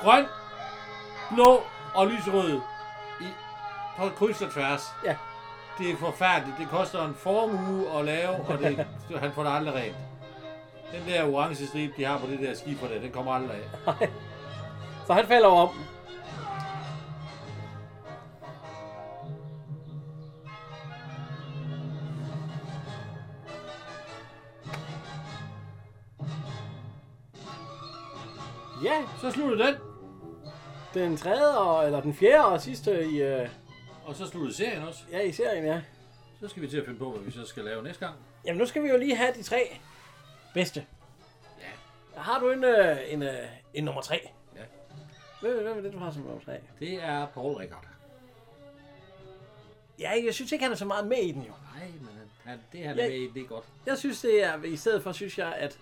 Grøn, blå og lyserød. I, på kryds og tværs. Ja. Det er forfærdeligt. Det koster en formue at lave, og det, han får det aldrig rent. Den der orange stribe, de har på det der skifer der, den kommer aldrig af. Så han falder om. Ja, Så slutter den, den tredje, og, eller den fjerde og sidste i, øh, og så slutter serien også. ja, i serien, ja. Så skal vi til at finde på, hvad vi så skal lave næste gang. Jamen, nu skal vi jo lige have de tre bedste. Ja. Har du en, øh, en, øh, en nummer tre? Ja. Hvem, hvem er det, du har som nummer tre? Det er Paul Rickard. Ja, jeg synes ikke, han er så meget med i den jo. Nej, men han- han, det han Jeg- er med i, det er godt. Jeg synes, det er... I stedet for synes jeg, at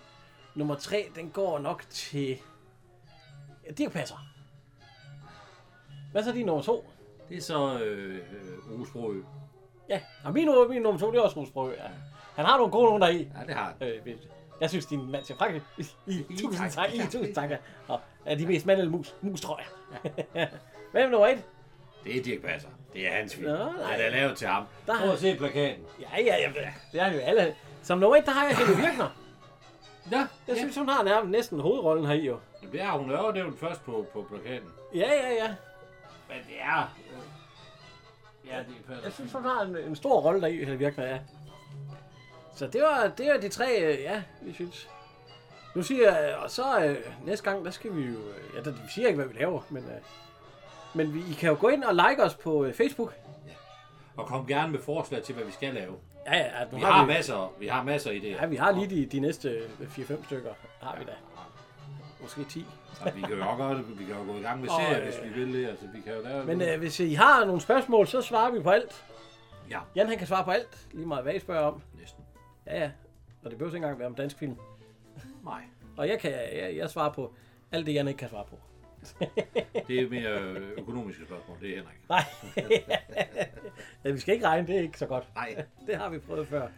nummer 3, den går nok til... Ja, det passer. Hvad så din nummer 2? Det er så øh, øh, Osbro. Ja, og min, min nummer 2, det er også Mogens Brøgge. Ja. Han har nogle gode nogen deri. Ja, det har han. Øh, ved- jeg synes, din mand siger frakke. I, I, tusind tak. tak. I, tusind tak. ja. Og er de mest mand eller mus? Mus, tror jeg. Hvem er nummer 1? Det er Dirk Passer. Det er hans film. Nå, Ja, nej. den er lavet til ham. Der- Prøv at se plakaten. Ja, ja, ja. det- Det er jo alle. Som nummer 1, der har jeg Helle Virkner. Ja, Jeg synes, hun har nærmest næsten hovedrollen her i jo. Jamen, det er hun er jo nævnt først på, på plakaten. Ja, ja, ja. Men det er... Øh, ja, det er Passer. Jeg synes, hun har en, en stor rolle deri, Helle Virkner, ja. Så det var, det var de tre, øh, ja, vi synes. Nu siger jeg, og så øh, næste gang, der skal vi jo, øh, ja, der, vi siger ikke, hvad vi laver, men, øh, men vi, I kan jo gå ind og like os på øh, Facebook. Og kom gerne med forslag til, hvad vi skal lave. Ja, ja, nu Vi har vi, masser, vi har masser af idéer. ja, vi har lige de, de næste øh, 4-5 stykker, har vi da. Måske 10. Og Altså, vi kan jo også gøre det. Vi kan jo gå i gang med Og, serier, øh, hvis vi vil det. Altså, vi kan jo lave Men noget. øh, hvis I har nogle spørgsmål, så svarer vi på alt. Ja. Jan, han kan svare på alt, lige meget hvad I spørger om. Næsten. Ja, ja. Og det behøver ikke engang være om dansk film. Nej. Og jeg kan, jeg, jeg svarer på alt det, Jan ikke kan svare på. Det er mere øh, økonomiske spørgsmål. Det er Henrik. Nej. ja, vi skal ikke regne, det er ikke så godt. Nej. Det har vi prøvet før.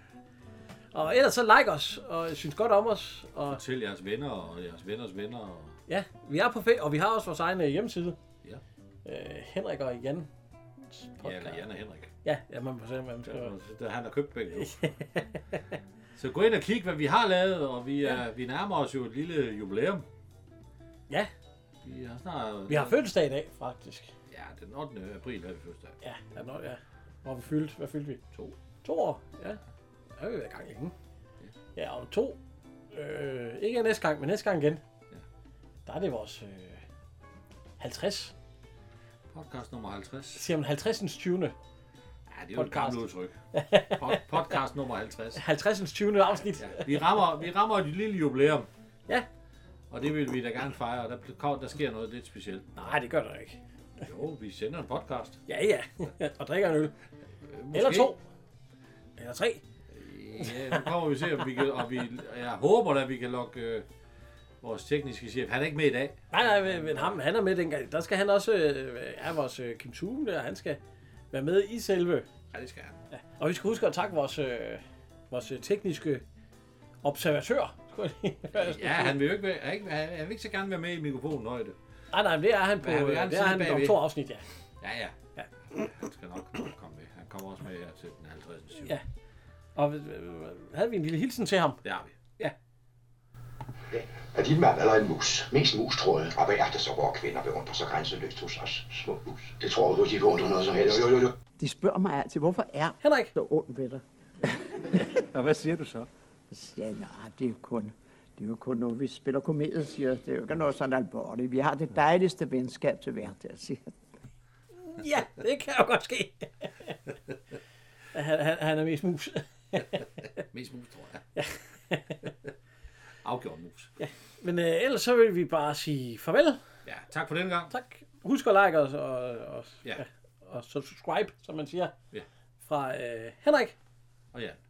Og ellers så like os, og synes godt om os. Og Fortæl jeres venner og jeres venners venner. Og... ja, vi er på fe- og vi har også vores egen øh, hjemmeside. Ja. Øh, Henrik og Jan. Ja, eller Jan og Henrik. Ja, ja, man må se, hvad man skal gøre. Der han har købt begge to. Så gå ind og kig, hvad vi har lavet, og vi, er, vi nærmer os jo et lille jubilæum. Ja, Vi har snart... vi har fødselsdag i dag, faktisk. Ja, den 8. april havde vi fødselsdag. Ja, ja, nå, ja. Hvor vi fyldt, hvad fyldte vi? To. To år, ja. Der har vi været i gang igen. Ja, om to. Øh, ikke næste gang, men næste gang igen. Der er det vores øh, 50. Podcast nummer 50. Siger man 50. 20. Ja, det er jo et Podcast. gammelt udtryk. Pod- podcast nummer 50. 50. 20. afsnit. Ja, vi, rammer, vi rammer et lille jubilæum. Ja. Og det vil vi da gerne fejre, og der, kom- der sker noget lidt specielt. Nej, det gør der ikke. Jo, vi sender en podcast. Ja, ja. og drikker en øl. Øh, Eller måske. to. Eller tre. Ja, nu kommer vi til, om vi kan, og vi, og jeg håber da, at vi kan lokke øh, vores tekniske chef. Han er ikke med i dag. Nej, nej, men- men ham, han er med dengang. Der skal han også, øh, ja, vores øh, Kim Thune der, han skal være med i selve. Ja, det skal han. Og vi skal huske at takke vores, øh, vores øh, tekniske observatør. skulle jeg lige- Ja, han vil jo ikke, være, er ikke, han han vil ikke så gerne være med i mikrofonen højde. Nej, nej, men det er han på, Men han øh, vil det gerne er sidde han om bagved. to afsnit, ja. Ja, ja. Ja. Han skal nok komme med. Han kommer også med her til den 50. syv. Ja. Og øh, havde vi en lille hilsen til ham? Det har vi. Er din mand eller en mus? Mest mus, tror jeg. Og hvad er det så, hvor kvinder beundrer så grænseløst hos os små mus? Det tror du, de beundrer noget som helst. Jo, jo, jo. De spørger mig altid, hvorfor er Henrik? der ondt ved dig? Og hvad siger du så? Så siger jeg, nej, det er jo kun, det er jo kun noget, vi spiller komedie, siger jeg. Det er jo ikke noget sådan alvorligt. Vi har det dejligste venskab til hverdag, siger jeg. Ja, det kan jo godt ske. han, han, han er mest mus. Mest mus, tror jeg. Ja. Afgjort mus. Ja. Men øh, ellers så vil vi bare sige farvel. ja. Tak for denne gang. Tak. Husk at like os og, og, Ja. og subscribe, som man siger. Ja. Fra øh, Henrik Og ja.